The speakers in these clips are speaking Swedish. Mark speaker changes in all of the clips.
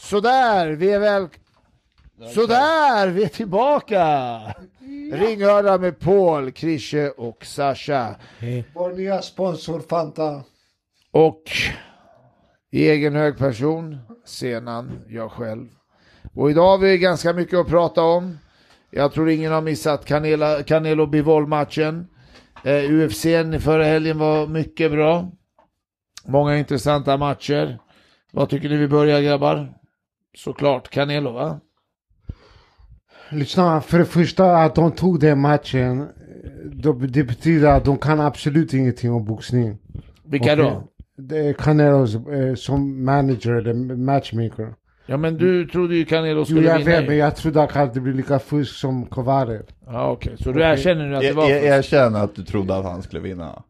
Speaker 1: Sådär, vi är väl... Sådär, vi är tillbaka! Ringhörda med Paul, Krische och Sasha.
Speaker 2: Vår nya sponsor Fanta.
Speaker 1: Och i egen hög person, Senan, jag själv. Och idag har vi ganska mycket att prata om. Jag tror ingen har missat Canela, Canelo Bivol-matchen. Eh, UFC n förra helgen var mycket bra. Många intressanta matcher. Vad tycker ni vi börjar grabbar? Såklart Canelo va?
Speaker 3: Lyssna, för det första att de tog den matchen, eh, då- det betyder att de kan absolut ingenting om boxning.
Speaker 1: Vilka då?
Speaker 3: Och, Det är Canelos eh, som manager eller matchmaker.
Speaker 1: Ja men du trodde ju Canelo
Speaker 3: Jo,
Speaker 1: skulle
Speaker 3: jag
Speaker 1: vinna
Speaker 3: vet, men
Speaker 1: ju.
Speaker 3: jag trodde att det blir lika fusk som Kovare.
Speaker 1: Ja okej, så du erkänner nu att det
Speaker 4: Er,
Speaker 1: var
Speaker 4: er,
Speaker 1: fusk?
Speaker 4: erkänn att du trodde att han skulle vinna.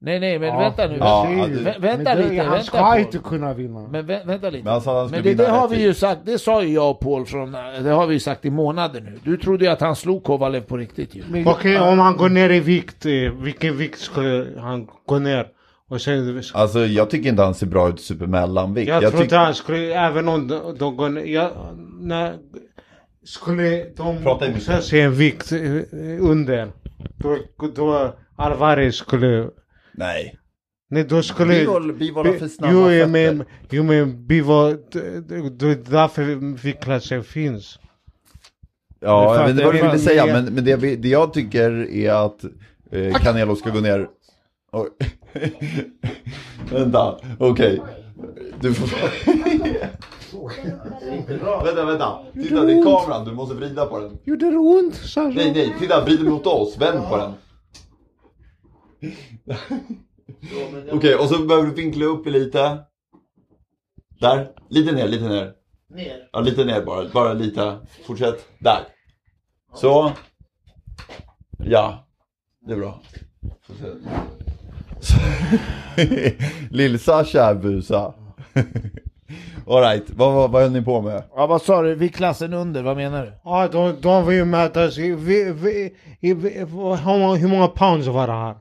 Speaker 1: Nej nej men
Speaker 3: Ja.
Speaker 1: vänta nu.
Speaker 4: Ja,
Speaker 1: Vä-
Speaker 4: det-
Speaker 1: vänta lite,
Speaker 3: han
Speaker 1: vänta
Speaker 3: ska
Speaker 1: på.
Speaker 3: inte kunna vinna.
Speaker 1: Men vä- vänta lite.
Speaker 4: Men alltså, han sa att han skulle
Speaker 1: Men det,
Speaker 4: vinna
Speaker 1: det har
Speaker 4: rätt
Speaker 1: vi
Speaker 4: tid.
Speaker 1: ju sagt, det sa ju jag och Paul från, det har vi ju sagt i månader nu. Du trodde ju att han slog Kovalev på riktigt ju.
Speaker 3: Men-
Speaker 5: Okej, om han går ner i vikt, eh, vilken vikt ska han gå ner? Och sen,
Speaker 4: Alltså jag tycker inte han ser bra ut supermellanvikt.
Speaker 5: jag, tror
Speaker 4: tyck-
Speaker 5: inte han skulle, även om de, de går ner, jag, när, skulle de
Speaker 4: Prata i micken.
Speaker 5: boxas sig en vikt eh, under, då, då Alvarez skulle,
Speaker 4: Nej.
Speaker 5: nej då skulle...
Speaker 4: Bivol- Bivol har för snabba
Speaker 5: jo,
Speaker 4: fötter.
Speaker 5: jag men, jo men Bivol, d- d- det är därför viktklassen finns.
Speaker 4: Ja,
Speaker 1: Det
Speaker 4: jag vet inte vad
Speaker 1: fattar
Speaker 4: du
Speaker 1: jag.
Speaker 4: ville säga, men, men det, vi- det jag tycker är att eh, Canelo ska gå ner... Oj. vänta, okej. Du får... vänta, vänta. Titta, det är kameran, du måste vrida på den.
Speaker 3: Gjorde det ont? sa
Speaker 4: Nej, nej, titta, vrid mot oss, vänd på den. Okej, och så behöver du vinkla upp lite. Där, lite ner, lite ner. Ner? Ja, lite ner bara, bara lite. Fortsätt, där. Så. Ja, det är bra. Lill-Sasha busa. Alright, vad, vad, vad höll ni på med?
Speaker 1: Ja vad sa du, vi klassen under, vad menar du?
Speaker 5: Ja, de, de vill ju mötas i, vi, vi, i, vi, hur många- hur många pounds var det här?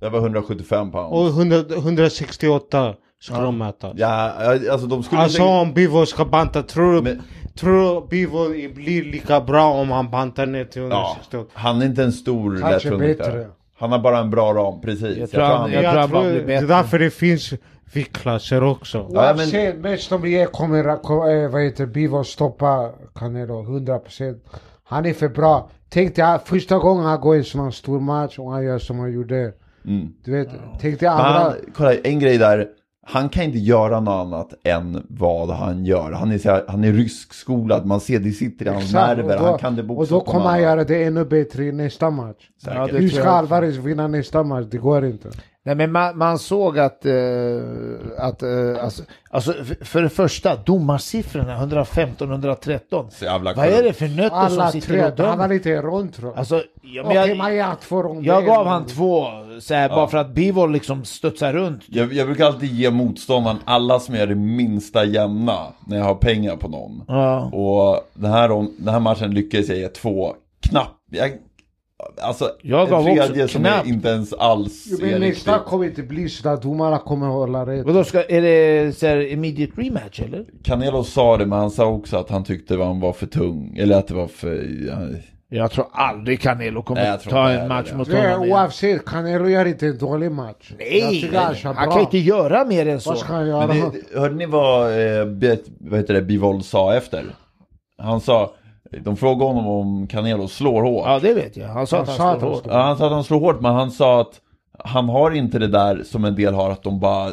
Speaker 4: Det var 175 pound.
Speaker 5: Och 100, 168 ska de mötas.
Speaker 4: Ja, alltså de skulle
Speaker 5: Alltså
Speaker 4: säkert-
Speaker 5: om Bivol ska banta, tror du
Speaker 4: Men-
Speaker 5: tror du Bivol blir lika bra om han bantar ner till
Speaker 4: Ja,
Speaker 5: 168?
Speaker 4: han är inte en stor
Speaker 3: Kanske
Speaker 4: lättungviktare.
Speaker 3: bättre.
Speaker 4: Han har bara en bra ram, precis.
Speaker 1: Jag tror han-
Speaker 4: ja.
Speaker 1: jag- tror bara blir
Speaker 5: det är
Speaker 1: bättre.
Speaker 5: därför det finns viktklasser också.
Speaker 4: Ja, men-
Speaker 3: Oavsett match de ger kommer Rako- eh, vad heter Bivol stoppa Canelo 100%. Han är för bra. Tänk dig att första gången han går i en sån här stor match och han gör som han gjorde. Du vet, tänk dig
Speaker 4: Mm. Men
Speaker 3: andra.
Speaker 4: han, kolla, en grej där. Han kan inte göra något annat än vad han gör. Han är, så här, han är rysk skolad, man ser det sitter i hans
Speaker 3: Exakt,
Speaker 4: nerver.
Speaker 3: och då-
Speaker 4: Han kan det
Speaker 3: Och då
Speaker 4: bokstavligt
Speaker 3: kommer han göra det ännu bättre i nästa match.
Speaker 1: Ja, det
Speaker 3: Hur
Speaker 1: tror
Speaker 3: ska
Speaker 1: jag.
Speaker 3: Alvarez vinna nästa match? Det går inte.
Speaker 1: Nej men man, man såg att, eh, att eh, alltså, alltså, f- för det första, domarsiffrorna 115, 113.
Speaker 4: Så jävla
Speaker 1: Vad
Speaker 4: sjukt.
Speaker 1: är det för nötter
Speaker 3: Alla
Speaker 1: som sitter
Speaker 3: tre,
Speaker 1: och
Speaker 3: han var
Speaker 1: dömer?
Speaker 3: lite i rond tror jag.
Speaker 1: Alltså, ja, men
Speaker 3: Okej,
Speaker 1: jag,
Speaker 3: man ger två ronder.
Speaker 1: jag gav han två, så här, bara för att Bivol liksom studsar runt.
Speaker 4: Jag, jag brukar alltid ge motståndaren alla som är det minsta jämna när jag har pengar på någon.
Speaker 1: Ja.
Speaker 4: Och den här, om- den här matchen lyckades jag ge två, knappt. Jag, alltså,
Speaker 1: Jag gav
Speaker 4: en
Speaker 1: också
Speaker 4: tredje som
Speaker 1: knappt.
Speaker 4: är inte ens alls
Speaker 3: Jo,
Speaker 4: är
Speaker 3: men nästa
Speaker 4: riktigt.
Speaker 3: kommer inte bli sådär. Domarna kommer hålla rätt.
Speaker 1: Vadå, ska, är det så här, immediate rematch eller?
Speaker 4: Canelo sa det, men han sa också att han tyckte han var för tung. Eller att det var för...
Speaker 1: Jag tror aldrig Canelo
Speaker 4: Nej,
Speaker 1: kommer
Speaker 4: jag tror
Speaker 1: ta
Speaker 4: inte
Speaker 1: en
Speaker 4: heller
Speaker 1: match
Speaker 4: det.
Speaker 1: mot
Speaker 3: Det är
Speaker 1: honom igen.
Speaker 3: oavsett, Canelo gör inte en dålig match. Jag
Speaker 1: Nej,
Speaker 3: tycker
Speaker 1: nej,
Speaker 3: han kör
Speaker 1: han
Speaker 3: bra.
Speaker 1: kan inte göra mer än så.
Speaker 3: Vad ska han
Speaker 4: Men
Speaker 3: göra?
Speaker 4: det, hörde ni vad, eh, Be- vad heter det, Bivol sa efter? Han sa... De frågade honom om Canelo slår hårt.
Speaker 1: Ja, det vet jag. Han sa
Speaker 3: Han
Speaker 1: att han
Speaker 3: sa att
Speaker 1: slår
Speaker 3: han
Speaker 1: hårt.
Speaker 3: slår.
Speaker 4: Ja, han sa att han slår hårt, men han sa att han har inte det där som en del har, att de bara...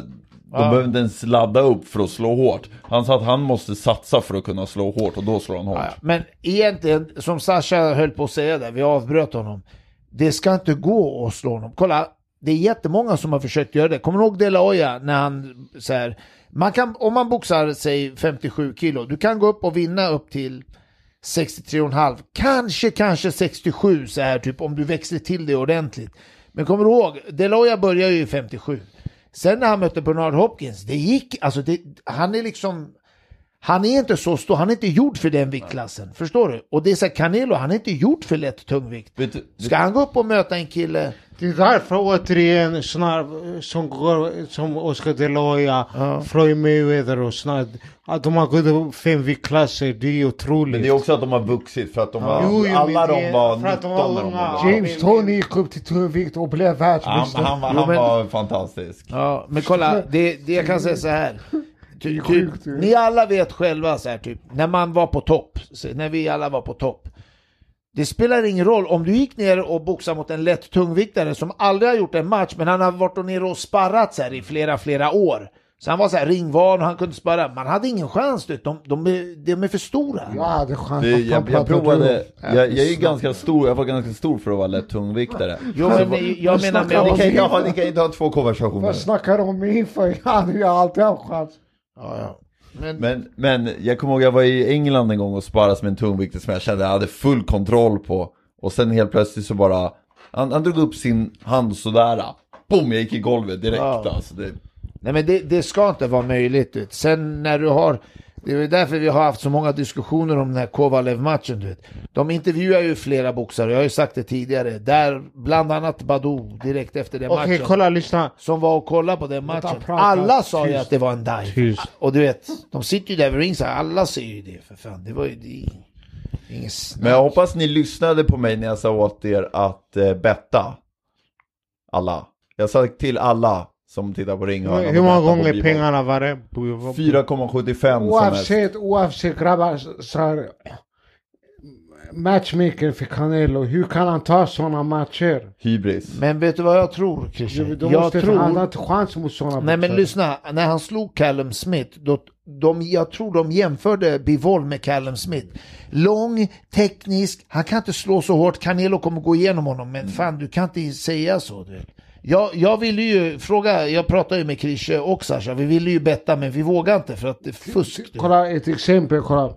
Speaker 4: De behöver inte ens ladda upp för att slå hårt. Han sa att han måste satsa för att kunna slå hårt och då slår han hårt.
Speaker 1: Ja, Men egentligen, som Sasha höll på att säga där, vi avbröt honom. Det ska inte gå att slå honom. Kolla, det är jättemånga som har försökt göra det. Kommer du ihåg De La Hoya när han så här, man kan, om man boxar sig 57 kilo, du kan gå upp och vinna upp till 63,5, kanske, kanske 67 så här typ om du växer till det ordentligt. Men kommer du ihåg, De La Hoya började ju i 57. Sen när han mötte Bernard Hopkins, det gick, alltså det, han är liksom, han är inte så stor, han är inte gjord för den viktklassen. Förstår du? Och det är så här, Canelo, han är inte gjord för lätt tungvikt.
Speaker 4: Vet du-
Speaker 1: Ska han gå upp och möta en kille
Speaker 5: Det är därför återigen sådana som, går- som Oscar de la Hoya,
Speaker 1: Ja.
Speaker 5: Floyd Mayweather och sådana, att de har gått fem viktklasser, det är ju otroligt.
Speaker 4: Men det är också att de har vuxit för att de var,
Speaker 5: Jo, jo,
Speaker 4: alla
Speaker 5: men
Speaker 4: de
Speaker 5: det-
Speaker 4: var
Speaker 5: för att
Speaker 4: 19
Speaker 5: de
Speaker 4: när
Speaker 5: var
Speaker 4: de
Speaker 5: unga.
Speaker 4: var
Speaker 5: Ja,
Speaker 3: James
Speaker 5: men-
Speaker 3: Tony gick upp till tungvikt och blev
Speaker 4: Han,
Speaker 3: världsmästare.
Speaker 4: han, han,
Speaker 1: Jo, men-
Speaker 4: var fantastisk.
Speaker 1: Ja, men kolla, det, det jag kan säga så här. Ty, typ, ni alla vet själva så här typ, när man var på topp, så- när vi alla var på topp. Det spelar ingen roll om du gick ner och boxade mot en lätt tungviktare som aldrig har gjort en match, men han har varit och nere och sparrat så här i flera, flera år. Så han var så här ringvan och han kunde sparra. Man hade ingen chans, du. vet. De, de, är- de är för stora.
Speaker 3: Jag hade chans.
Speaker 4: Det,
Speaker 3: Vad fan
Speaker 4: jag, jag
Speaker 3: pratar du om?
Speaker 4: provade, jag, jag är ju ganska stor, jag var ganska stor för att vara lätt tungviktare.
Speaker 1: Jo,
Speaker 4: Så
Speaker 1: men
Speaker 4: vad-
Speaker 1: jag, jag menar med...
Speaker 3: snackar
Speaker 4: ni, kan, ju-
Speaker 1: Ja,
Speaker 4: ja, ni kan ju inte ha två konversationer.
Speaker 3: Vad snackar du om inför? Jag hade alltid haft chans.
Speaker 1: ja. Men,
Speaker 4: Men, men jag kommer ihåg jag var i England en gång och sparade som en tungviktare som jag kände jag hade full kontroll på. Och sen helt plötsligt så bara, han, han drog upp sin hand sådär. Boom, jag gick i golvet direkt
Speaker 1: Ja.
Speaker 4: alltså. Det,
Speaker 1: Nej men det, det ska inte vara möjligt. Du vet. Sen när du har, det är ju därför vi har haft så många diskussioner om den här Kovalev-matchen. Du vet. De intervjuar ju flera boxare, jag har ju sagt det tidigare, där bland annat Badou direkt efter den
Speaker 5: Okej,
Speaker 1: matchen.
Speaker 5: kolla, lyssna.
Speaker 1: Som var och kollade på den matchen.
Speaker 3: prata
Speaker 1: Alla sa ju
Speaker 3: tyst.
Speaker 1: att det var en dive.
Speaker 5: Tyst.
Speaker 1: Och du vet, de sitter ju där vid ringside, alla ser ju det för fan. Det var ju det, det är inget snack.
Speaker 4: Men jag hoppas ni lyssnade på mig när jag sa åt er att eh, betta. Alla. Jag sa till alla som tittar på ringhörnan.
Speaker 5: Hur
Speaker 4: att
Speaker 5: många
Speaker 4: betta på
Speaker 5: gånger
Speaker 4: Bivol.
Speaker 5: pengarna var det?
Speaker 4: 4,75 som helst.
Speaker 3: Oavsett, oavsett grabbar. så- Så här, matchmaker för Canelo, hur kan han ta sådana matcher?
Speaker 4: Hybris.
Speaker 1: Men vet du vad jag tror Christian?
Speaker 3: De
Speaker 1: jag
Speaker 3: måste,
Speaker 1: tror...
Speaker 3: Han har inte chans mot sådana
Speaker 1: Nej
Speaker 3: matcher.
Speaker 1: men lyssna, när han slog Callum Smith, då, de, jag tror de jämförde Bivol med Callum Smith. Lång, teknisk, han kan inte slå så hårt, Canelo kommer gå igenom honom,
Speaker 3: Mm.
Speaker 1: men fan du kan inte säga så. Du. Jag, jag ville ju fråga, jag pratade ju med Krische och Sasha, vi ville ju betta men vi vågade inte för att det är fusk. Du.
Speaker 3: Kolla ett exempel, kolla.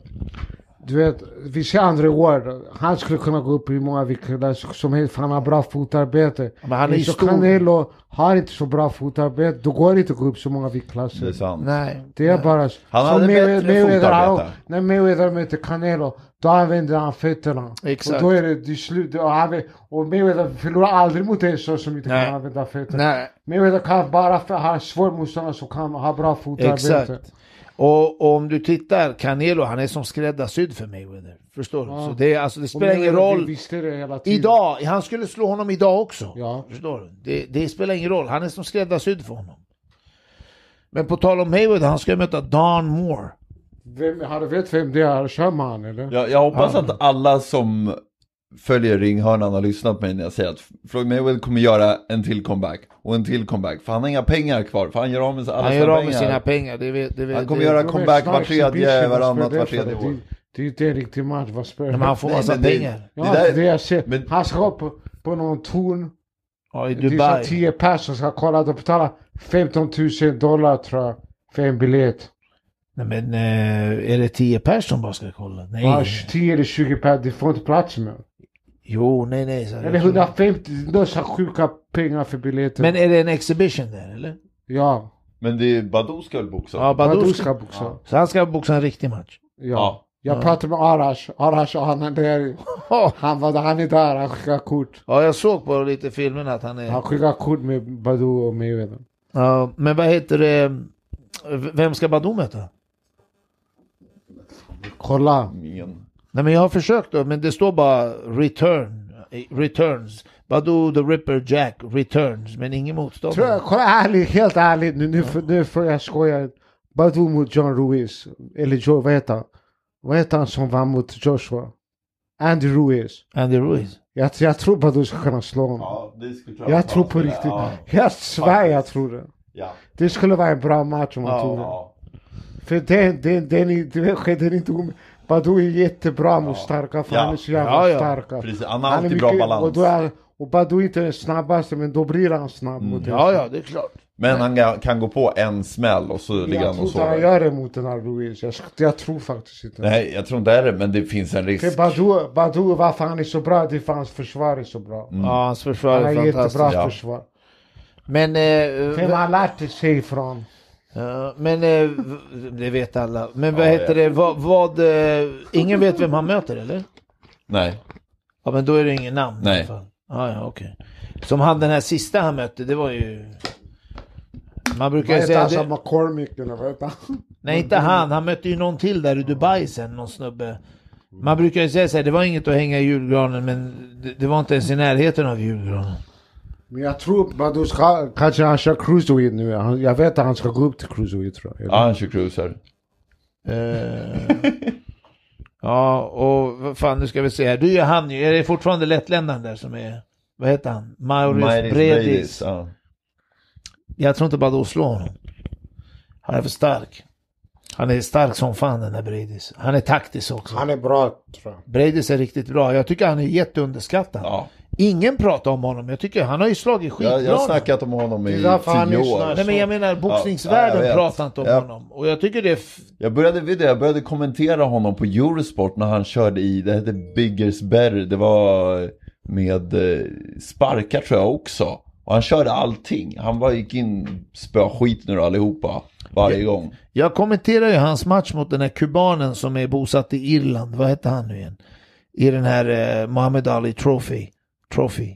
Speaker 3: Du vet, vi ser André Ward. Han skulle kunna gå upp i många viktklasser som helst för han har bra fotarbete.
Speaker 1: Men han är ju
Speaker 3: så
Speaker 1: stor.
Speaker 3: Canelo har inte så bra fotarbete. Då går det inte att gå upp så många
Speaker 4: Det är
Speaker 3: viktklasser.
Speaker 4: sant.
Speaker 1: Nej.
Speaker 3: Det är bara så.
Speaker 4: Han
Speaker 3: Så
Speaker 4: hade
Speaker 3: Maywe-
Speaker 4: bättre
Speaker 3: han-
Speaker 4: fotarbete.
Speaker 3: När Mayweather möter Canelo, då använder han fötterna.
Speaker 1: Exakt.
Speaker 3: Och då är det, det är slut. Och, han, vet- och Mayweather förlorar aldrig mot en sån som inte
Speaker 1: Nej.
Speaker 3: kan använda fötterna.
Speaker 1: Nej.
Speaker 3: Mayweather kan bara för, ha en svår motståndare som kan ha bra fotarbete.
Speaker 1: Exakt. Och, och om du tittar, Canelo han är som skräddarsydd för Mayweather. Förstår du?
Speaker 3: Ja.
Speaker 1: Så det, är- alltså, det
Speaker 3: Och
Speaker 1: spelar ingen
Speaker 3: Mayweather
Speaker 1: roll.
Speaker 3: Visste det hela tiden.
Speaker 1: Idag, han skulle slå honom idag också.
Speaker 3: Ja.
Speaker 1: Förstår du? Det, det spelar ingen roll, han är som skräddarsydd för honom. Men på tal om Hayward, han ska möta Don Moore.
Speaker 3: Vem, har du vet vem det är? Sherman eller?
Speaker 4: Jag, jag hoppas att alla som följer ringhörnan har lyssnat på mig när jag säger att Floyd Mayweather kommer göra en till comeback och en till comeback. För han har inga pengar kvar, för han gör av med alla
Speaker 1: Han
Speaker 4: sina
Speaker 1: gör av med
Speaker 4: pengar.
Speaker 1: sina pengar. Det, vet- det, vet-
Speaker 4: Han kommer
Speaker 1: det,
Speaker 4: göra
Speaker 3: De är
Speaker 4: comeback var
Speaker 3: snarks i
Speaker 4: tredje,
Speaker 3: bitchen, vad
Speaker 4: varannat,
Speaker 3: spelar
Speaker 4: var
Speaker 3: det för?
Speaker 4: tredje år.
Speaker 3: Det- Det är inte en riktig match, vad spelar
Speaker 1: Men han får
Speaker 4: Nej,
Speaker 1: massa
Speaker 4: men det-
Speaker 1: pengar.
Speaker 3: Ja,
Speaker 4: Det
Speaker 3: det
Speaker 4: där-
Speaker 3: är det jag ser.
Speaker 4: men-
Speaker 3: Han ska upp på, på någon torn.
Speaker 1: Ja, I
Speaker 3: Det är så
Speaker 1: Dubai.
Speaker 3: 10 personer ska kolla. De betalar 15 000 dollar tror jag. För en biljett.
Speaker 1: Nej, men eh, är det 10 pers som bara ska kolla? Nej.
Speaker 3: Ja, 10 eller 20 personer. Det får inte plats med.
Speaker 1: Jo, nej, nej. Så
Speaker 3: Eller 150. De ska sjuka pengar för biljetten.
Speaker 1: Men är det en exhibition där eller?
Speaker 3: ja.
Speaker 4: Men det är Badou ska väl boxa?
Speaker 1: Ja, Badou
Speaker 3: Badou
Speaker 1: ska...
Speaker 3: ska boxa. Ja.
Speaker 1: Så han ska boxa en riktig match?
Speaker 4: Ja.
Speaker 3: Jag pratade med Arash. Arash han är där.
Speaker 1: Ja,
Speaker 3: Han var där. Han är där. Han skickar kort.
Speaker 1: jag såg på lite filmen att han är...
Speaker 3: Han skickar kort med Badou och Mayweather.
Speaker 1: Ja, men vad heter det? V- Vem ska Badou möta?
Speaker 3: Kolla.
Speaker 4: Ingen.
Speaker 1: Nej men jag har försökt då, men det står bara return, eh, returns. Badoo the Ripper Jack returns, men ingen
Speaker 3: Tror jag,
Speaker 1: motståndare.
Speaker 3: kolla ärligt, helt ärligt nu, nu, för, nu får jag skoja. Badou mot John Ruiz, eller Joe, vad heter han? Vad heter han som vann mot Joshua? Andy Ruiz.
Speaker 1: Andy Ruiz.
Speaker 3: Jag, jag tror Badou ska kunna slå honom.
Speaker 4: Ja, det skulle klart
Speaker 3: jag tror på
Speaker 4: vara.
Speaker 3: riktigt.
Speaker 4: Ja,
Speaker 3: Jag svär jag tror det.
Speaker 4: ja,
Speaker 3: Det skulle vara en bra match om han
Speaker 1: Ja,
Speaker 3: tog den.
Speaker 4: ja.
Speaker 3: För den, den, den, är- du vet, den är inte om... Badou är jättebra mot starka, för
Speaker 4: Ja.
Speaker 3: han är så jävla
Speaker 1: Ja, ja.
Speaker 3: starka.
Speaker 4: Precis, han har
Speaker 3: Han är
Speaker 4: alltid bra
Speaker 3: mycket- Och,
Speaker 4: balans.
Speaker 3: då är, och Badou är inte den snabbaste, men då blir han snabb
Speaker 4: Mm.
Speaker 3: mot en
Speaker 1: Ja, ja, det är klart.
Speaker 4: Men han ga- kan gå på en smäll och så ligger
Speaker 3: Jag
Speaker 4: han
Speaker 3: tror
Speaker 4: och
Speaker 3: inte han
Speaker 4: sover.
Speaker 3: gör det mot den här Ruiz. Jag, sk- jag tror faktiskt inte.
Speaker 4: Nej, jag tror inte det är det, men det finns en risk.
Speaker 3: För Badou, Badou, varför han är så bra, det är för hans försvar är så bra.
Speaker 4: Mm.
Speaker 1: Ja, hans försvar
Speaker 3: Han har
Speaker 1: är
Speaker 3: jättebra
Speaker 1: fantastiskt.
Speaker 4: Ja.
Speaker 3: försvar.
Speaker 1: Men, eh,
Speaker 3: Vem
Speaker 1: v-
Speaker 3: har lärt sig ifrån?
Speaker 1: ja, men eh, v- det vet alla. Men vad
Speaker 4: Ja,
Speaker 1: heter det, vad, vad eh, ingen vet vem han möter eller?
Speaker 4: Nej.
Speaker 1: Ja men då är det ingen namn i
Speaker 4: Nej.
Speaker 1: alla fall. Ja, ja, okej. Som han den här sista han mötte, det var ju... Man brukar
Speaker 2: Vad
Speaker 1: ju
Speaker 2: heter
Speaker 1: säga...
Speaker 2: han
Speaker 1: Det...
Speaker 2: som McCormick eller vad heter han?
Speaker 1: Nej, inte han. Han mötte ju någon till där i Dubai sen, någon snubbe. Man brukar ju säga så här, det var inget att hänga i julgranen, men det, det var inte ens i närheten av julgranen.
Speaker 3: Men jag tror Badou ska, kanske han kör cruiserweight nu. Han, jag vet att han ska gå upp till cruiserweight tror jag.
Speaker 4: Ja, han kör cruiser.
Speaker 1: Eh, ja, och vad fan, nu ska vi se här. Du är han ju. Är det fortfarande lättländaren där som är... Vad heter han? Maurice
Speaker 4: Mighty's
Speaker 1: Bredis.
Speaker 4: Bredis, Ja.
Speaker 1: Jag tror inte Badou slår honom. Han är för stark. Han är stark som fan den där Bredis. Han är taktisk också.
Speaker 3: Han är bra tror jag.
Speaker 1: Bredis är riktigt bra. Jag tycker han är jätteunderskattad.
Speaker 4: Ja.
Speaker 1: Ingen pratar om honom. Jag tycker han har ju slagit skitbra.
Speaker 4: Jag, jag har
Speaker 1: nu.
Speaker 4: snackat om honom i
Speaker 3: Det är därför han
Speaker 4: tio
Speaker 3: är så
Speaker 4: år.
Speaker 3: här-
Speaker 1: Nej men jag menar boxningsvärlden
Speaker 4: Ja, jag vet.
Speaker 1: pratar inte om
Speaker 4: Ja.
Speaker 1: honom. Och jag tycker det är... F-
Speaker 4: Jag började, vid det, jag började kommentera honom på Eurosport när han körde i, det hette Biggers Berry, det var med eh, sparkar tror jag också. Och han körde allting. Han bara gick in, spöa skit nu allihopa, varje gång.
Speaker 1: jag kommenterar ju hans match mot den här kubanen som är bosatt i Irland. Vad hette han nu igen? I den här eh, Muhammad Ali Trophy. Trophy.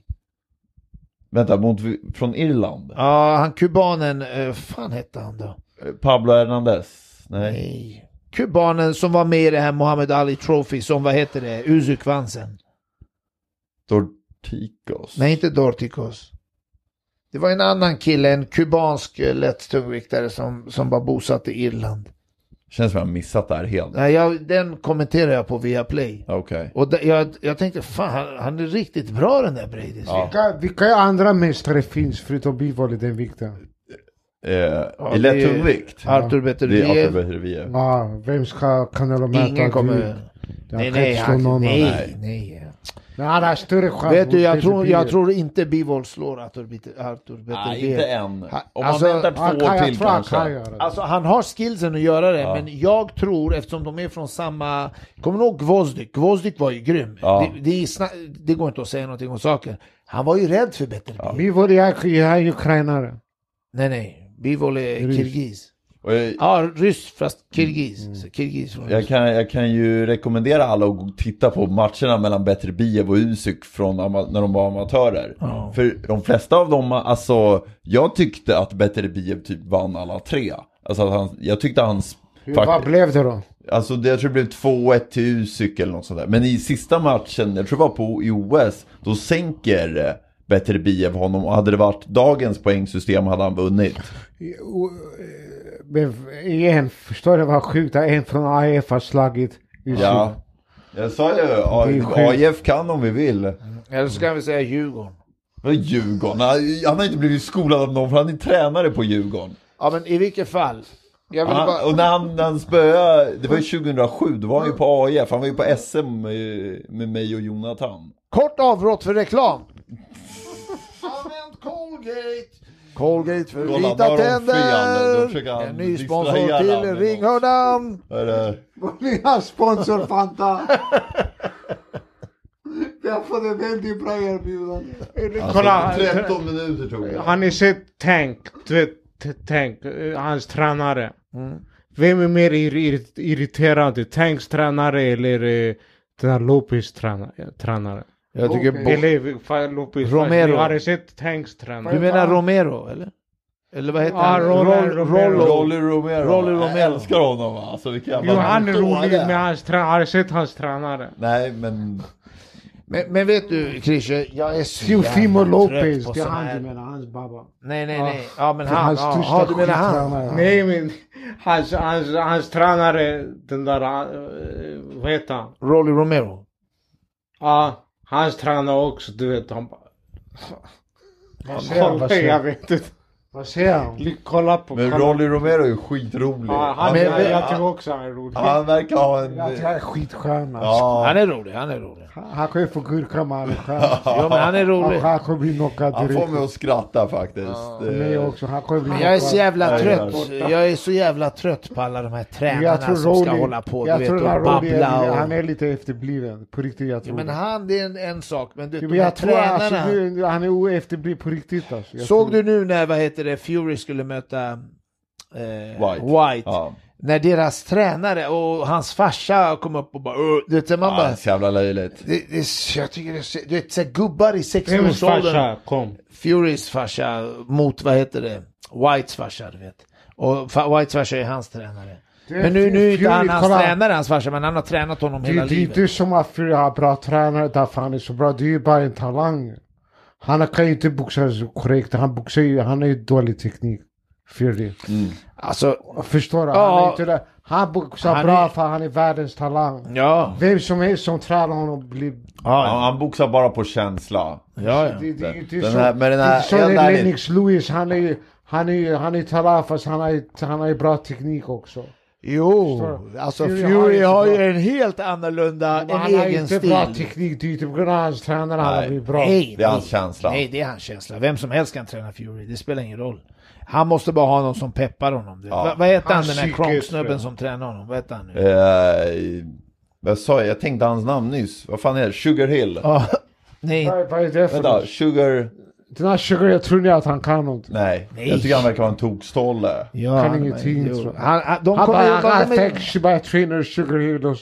Speaker 4: Vänta, mot, från Irland? Eh,
Speaker 1: Ja, han kubanen, eh, fan hette han då?
Speaker 4: Pablo Hernandez? Nej.
Speaker 1: Nej. Kubanen som var med i det här Muhammad Ali Trophy som, vad heter det, Usyk vann sen.
Speaker 4: Torticos?
Speaker 1: Nej, inte Dorticos. Det var en annan kille, en kubansk eh, lätt tungviktare som, som var bosatt i Irland.
Speaker 4: Känns som jag har missat det här helt.
Speaker 1: Nej, jag, den kommenterar jag på Viaplay.
Speaker 4: Okej.
Speaker 1: Och där- jag, jag tänkte, fan han, han är riktigt bra den där Bradis.
Speaker 4: Ja.
Speaker 3: Vilka, vilka andra mästare finns förutom Bivol i den vikten?
Speaker 4: Eh,
Speaker 1: det
Speaker 4: I lätt tungvikt?
Speaker 1: Arthur
Speaker 4: Det är
Speaker 1: Beterbiev.
Speaker 4: Arthur Beterbiev.
Speaker 3: Ja, vem ska Canelo möta?
Speaker 1: Ingen kommer...
Speaker 3: Jag
Speaker 1: Nej,
Speaker 3: kan
Speaker 1: nej,
Speaker 3: inte slå
Speaker 1: han,
Speaker 3: någon av dem.
Speaker 1: nej, nej.
Speaker 3: Men han har större chans.
Speaker 1: Vet
Speaker 3: mot
Speaker 1: du, jag
Speaker 3: Peter
Speaker 1: tror,
Speaker 3: Bivol.
Speaker 1: jag tror inte Bivol slår Arthur, Bete- Arthur
Speaker 4: Nej,
Speaker 1: Beterbiev.
Speaker 4: inte än. Om man
Speaker 1: alltså,
Speaker 4: väntar två
Speaker 3: han kan-
Speaker 4: år
Speaker 3: jag
Speaker 4: till
Speaker 3: tror han
Speaker 4: kanske.
Speaker 3: kan göra det.
Speaker 1: Alltså han har skillsen att göra det,
Speaker 4: Ja.
Speaker 1: men jag tror eftersom de är från samma... Kommer du ihåg Gvozdyk? Gvozdyk var ju grym.
Speaker 4: Ja.
Speaker 1: Det, det, är sna- det går inte att säga någonting om saken. Han var ju rädd för Beterbiev.
Speaker 3: Bivol är, jag är ukrainare.
Speaker 1: Nej, nej. Bivol är
Speaker 3: Ryss.
Speaker 1: kirgiz.
Speaker 4: Och jag,
Speaker 1: Ja, ryss fast kirgiz. Så kirgiz från
Speaker 4: Mm. jag,
Speaker 1: Ryssland.
Speaker 4: kan, jag kan ju rekommendera alla att gå och titta på matcherna mellan Beterbiev och Usyk från ama- när de var amatörer.
Speaker 1: Ja.
Speaker 4: För de flesta av dem, alltså jag tyckte att Beterbiev typ vann alla tre. Alltså att han, jag tyckte hans...
Speaker 3: Hur,
Speaker 4: fakt-
Speaker 3: vad blev det då?
Speaker 4: Alltså det, jag tror det blev 2-1 till Usyk eller något sånt där. Men i sista matchen, jag tror det var på i OS, då sänker eh, Beterbiev honom. Och hade det varit dagens poängsystem hade han vunnit.
Speaker 3: Men igen, förstår du vad sjukt? att En från AIF har slagit Usyk.
Speaker 4: Ja. Jag sa ju
Speaker 3: Det är
Speaker 4: A-
Speaker 3: sjukt.
Speaker 4: AIF kan om vi vill.
Speaker 1: Eller så kan vi säga Djurgården.
Speaker 4: Men Djurgården, han- han har inte blivit skolad av någon för han är tränare på Djurgården.
Speaker 1: Ja, men i vilket fall. Jag vill
Speaker 4: Han,
Speaker 1: bara...
Speaker 4: och när han, när han spöade, det var ju 2007, då var han ju på AIF, han var ju på SM med, med mig och Jonathan.
Speaker 1: Kort avbrott för reklam. Använd Colgate. Colgate för
Speaker 4: Kolla,
Speaker 1: vita
Speaker 4: var de fel? Då försöker
Speaker 1: tänder.
Speaker 4: han
Speaker 1: En ny
Speaker 4: blixtra
Speaker 1: sponsor
Speaker 4: ihjäl
Speaker 1: till
Speaker 4: honom.
Speaker 1: Ringhörnan.
Speaker 4: Vad är det?
Speaker 2: Vår nya sponsor Fanta. Vi har fått ett väldigt bra erbjudande.
Speaker 4: Alltså,
Speaker 5: Kolla,
Speaker 4: 13 minuter tog det.
Speaker 5: har ni sett Tank? Du vet, T- Tank, eh, hans tränare.
Speaker 3: Mm.
Speaker 5: Vem är mer ir- ir- irriterad? Tanks tränare eller eh, den här Lopez träna- tränare?
Speaker 1: Jag tycker
Speaker 2: Okej.
Speaker 1: bo-
Speaker 5: Eller fan, Lopez.
Speaker 1: Romero.
Speaker 5: Har ni sett Tanks tränare?
Speaker 1: Du menar Romero eller? Eller vad heter
Speaker 5: Ja,
Speaker 1: han?
Speaker 5: Roland Romero.
Speaker 1: Rollo.
Speaker 4: Rolly Romero.
Speaker 1: Rolly Romero.
Speaker 4: Jag älskar honom va? Alltså vilken jävla
Speaker 5: Jo, han är rolig,
Speaker 4: dåre.
Speaker 5: men hans tränare, har du sett hans tränare?
Speaker 4: Nej men,
Speaker 1: Men, men vet du Christer, jag är så
Speaker 3: Teofimo Lopez,
Speaker 1: på
Speaker 3: det är
Speaker 1: sån
Speaker 3: han
Speaker 1: här-
Speaker 3: du menar, hans babba.
Speaker 1: Nej, nej,
Speaker 3: Ja.
Speaker 1: nej. Ja, men
Speaker 3: Det är
Speaker 1: han.
Speaker 3: hans
Speaker 1: Ja,
Speaker 3: största
Speaker 1: ja, du menar han.
Speaker 3: skittränare.
Speaker 5: Nej, men hans, hans, hans tränare, den där, eh, vad heter han?
Speaker 1: Rolly Romero.
Speaker 5: Ja, hans tränare också, du vet. Han bara...
Speaker 3: Vad säger han? Vad
Speaker 5: Kolla,
Speaker 3: säger
Speaker 5: jag
Speaker 3: han?
Speaker 5: vet inte.
Speaker 3: Vad säger han?
Speaker 5: Ly- Kolla på...
Speaker 4: men
Speaker 5: kolla.
Speaker 4: Rolly Romero är ju skitrolig.
Speaker 5: Ja, han,
Speaker 1: Men-
Speaker 5: jag, jag tycker
Speaker 4: han,
Speaker 5: också han är rolig.
Speaker 4: han verkar ha en...
Speaker 3: Jag tycker han är skitstjärna.
Speaker 4: Ja.
Speaker 1: Han är rolig, han är rolig.
Speaker 3: Han kommer få gurka med han är stjärna.
Speaker 1: Ja, men han är rolig.
Speaker 3: Han kommer bli knockad
Speaker 4: Han får
Speaker 3: direkt.
Speaker 4: mig att skratta faktiskt.
Speaker 3: Mig
Speaker 4: Eh,
Speaker 3: också, han kommer bli
Speaker 1: Men jag är så jävla
Speaker 4: Nej,
Speaker 1: trött.
Speaker 4: jag
Speaker 1: Jag är så jävla trött på alla de här
Speaker 3: Men
Speaker 1: tränarna
Speaker 3: Jag tror
Speaker 1: som ska hålla på du
Speaker 3: jag
Speaker 1: vet,
Speaker 3: tror
Speaker 1: och
Speaker 3: att Rodi är,
Speaker 1: babbla. Och...
Speaker 3: han är lite efterbliven. På riktigt, jag
Speaker 1: Ja,
Speaker 3: tror
Speaker 1: men
Speaker 3: det.
Speaker 1: han, det är en, en sak. Men du,
Speaker 3: Jo,
Speaker 1: vet,
Speaker 3: men
Speaker 1: de här
Speaker 3: jag tror alltså,
Speaker 1: tränarna.
Speaker 3: nu, han är oefterbliven på riktigt alltså. Jag
Speaker 1: Såg
Speaker 3: tror-
Speaker 1: du nu när, vad heter det, Fury skulle möta eh, White?
Speaker 4: Ja.
Speaker 1: när deras tränare och hans farsa kom upp och bara... "Åh", Du vet, så man
Speaker 4: Ja, det
Speaker 1: bara
Speaker 4: är så jävla löjligt.
Speaker 1: det, det, är så- jag tycker det är, så- du vet, så här, gubbar i
Speaker 5: Vems
Speaker 1: 60-årsåldern.
Speaker 5: farsa kom?
Speaker 1: Furys farsa mot, vad heter det, Whites farsa, du vet. Och fa- Whites farsa är hans tränare.
Speaker 3: Det är
Speaker 1: Men nu, nu är inte
Speaker 3: Fury,
Speaker 1: han hans
Speaker 3: kolla.
Speaker 1: tränare, hans farsa, men han har tränat honom
Speaker 3: Det,
Speaker 1: hela
Speaker 3: det är
Speaker 1: livet.
Speaker 3: inte som att Fury har bra tränare därför han är så bra. Det är ju bara en talang. Han kan ju inte boxa så korrekt. Han boxar ju, han har ju dålig teknik. Fury.
Speaker 1: Alltså,
Speaker 3: Förstår du? Han,
Speaker 1: Ja.
Speaker 3: är inte där. han boxar
Speaker 1: Han
Speaker 3: bra
Speaker 1: är-
Speaker 3: för han är världens talang.
Speaker 1: ja.
Speaker 3: Vem som helst som tränar honom blir...
Speaker 4: Han,
Speaker 1: Ja,
Speaker 4: han boxar bara på känsla.
Speaker 1: ja. ja.
Speaker 3: Det, det är ju inte
Speaker 4: Den
Speaker 3: så.
Speaker 4: här- men den
Speaker 3: det är
Speaker 4: här-
Speaker 3: inte så
Speaker 4: helt
Speaker 3: det är
Speaker 4: ärligt.
Speaker 3: Lennox Lewis. Han är ju han är, ju- han är talang fast han har ju- han har ju bra teknik också.
Speaker 1: Jo,
Speaker 3: Förstår du?
Speaker 1: alltså
Speaker 3: Fury
Speaker 1: Fury,
Speaker 3: har ju inte
Speaker 1: har ju
Speaker 3: bra-
Speaker 1: en helt annorlunda, en
Speaker 3: Men han har ju
Speaker 1: egen
Speaker 3: inte
Speaker 1: stil.
Speaker 3: bra teknik. Det är ju inte på grund av hans tränare han
Speaker 4: Nej.
Speaker 3: har blivit bra.
Speaker 1: Nej,
Speaker 4: Det är hans
Speaker 1: nej.
Speaker 4: känsla.
Speaker 1: Nej, det är hans känsla. Vem som helst kan träna Fury, det spelar ingen roll. Han måste bara ha någon som peppar honom. du vet.
Speaker 4: Ja.
Speaker 1: Va, vad heter han,
Speaker 3: Hans
Speaker 1: den här
Speaker 3: psyke, tror
Speaker 1: Kronk-snubben
Speaker 3: jag.
Speaker 1: som tränar honom? Vad heter han nu?
Speaker 4: Eh, vad sa jag? Jag tänkte hans namn nyss. Vad fan är det? Sugar Hill?
Speaker 1: Ja, nej,
Speaker 3: Vad, vad är det för
Speaker 4: Vänta,
Speaker 3: något?
Speaker 4: Sugar...
Speaker 3: Den här Sugar, jag tror inte att han kan något.
Speaker 4: Nej.
Speaker 1: Nej.
Speaker 4: Jag tycker han verkar vara en tokstolle.
Speaker 1: ja,
Speaker 3: kan ingenting,
Speaker 1: jo.
Speaker 3: tror jag.
Speaker 1: Han, han, de
Speaker 3: Han bara,
Speaker 1: kommer
Speaker 3: han
Speaker 1: jobba
Speaker 3: kan
Speaker 1: med...
Speaker 3: text by trainer Sugar Heroes.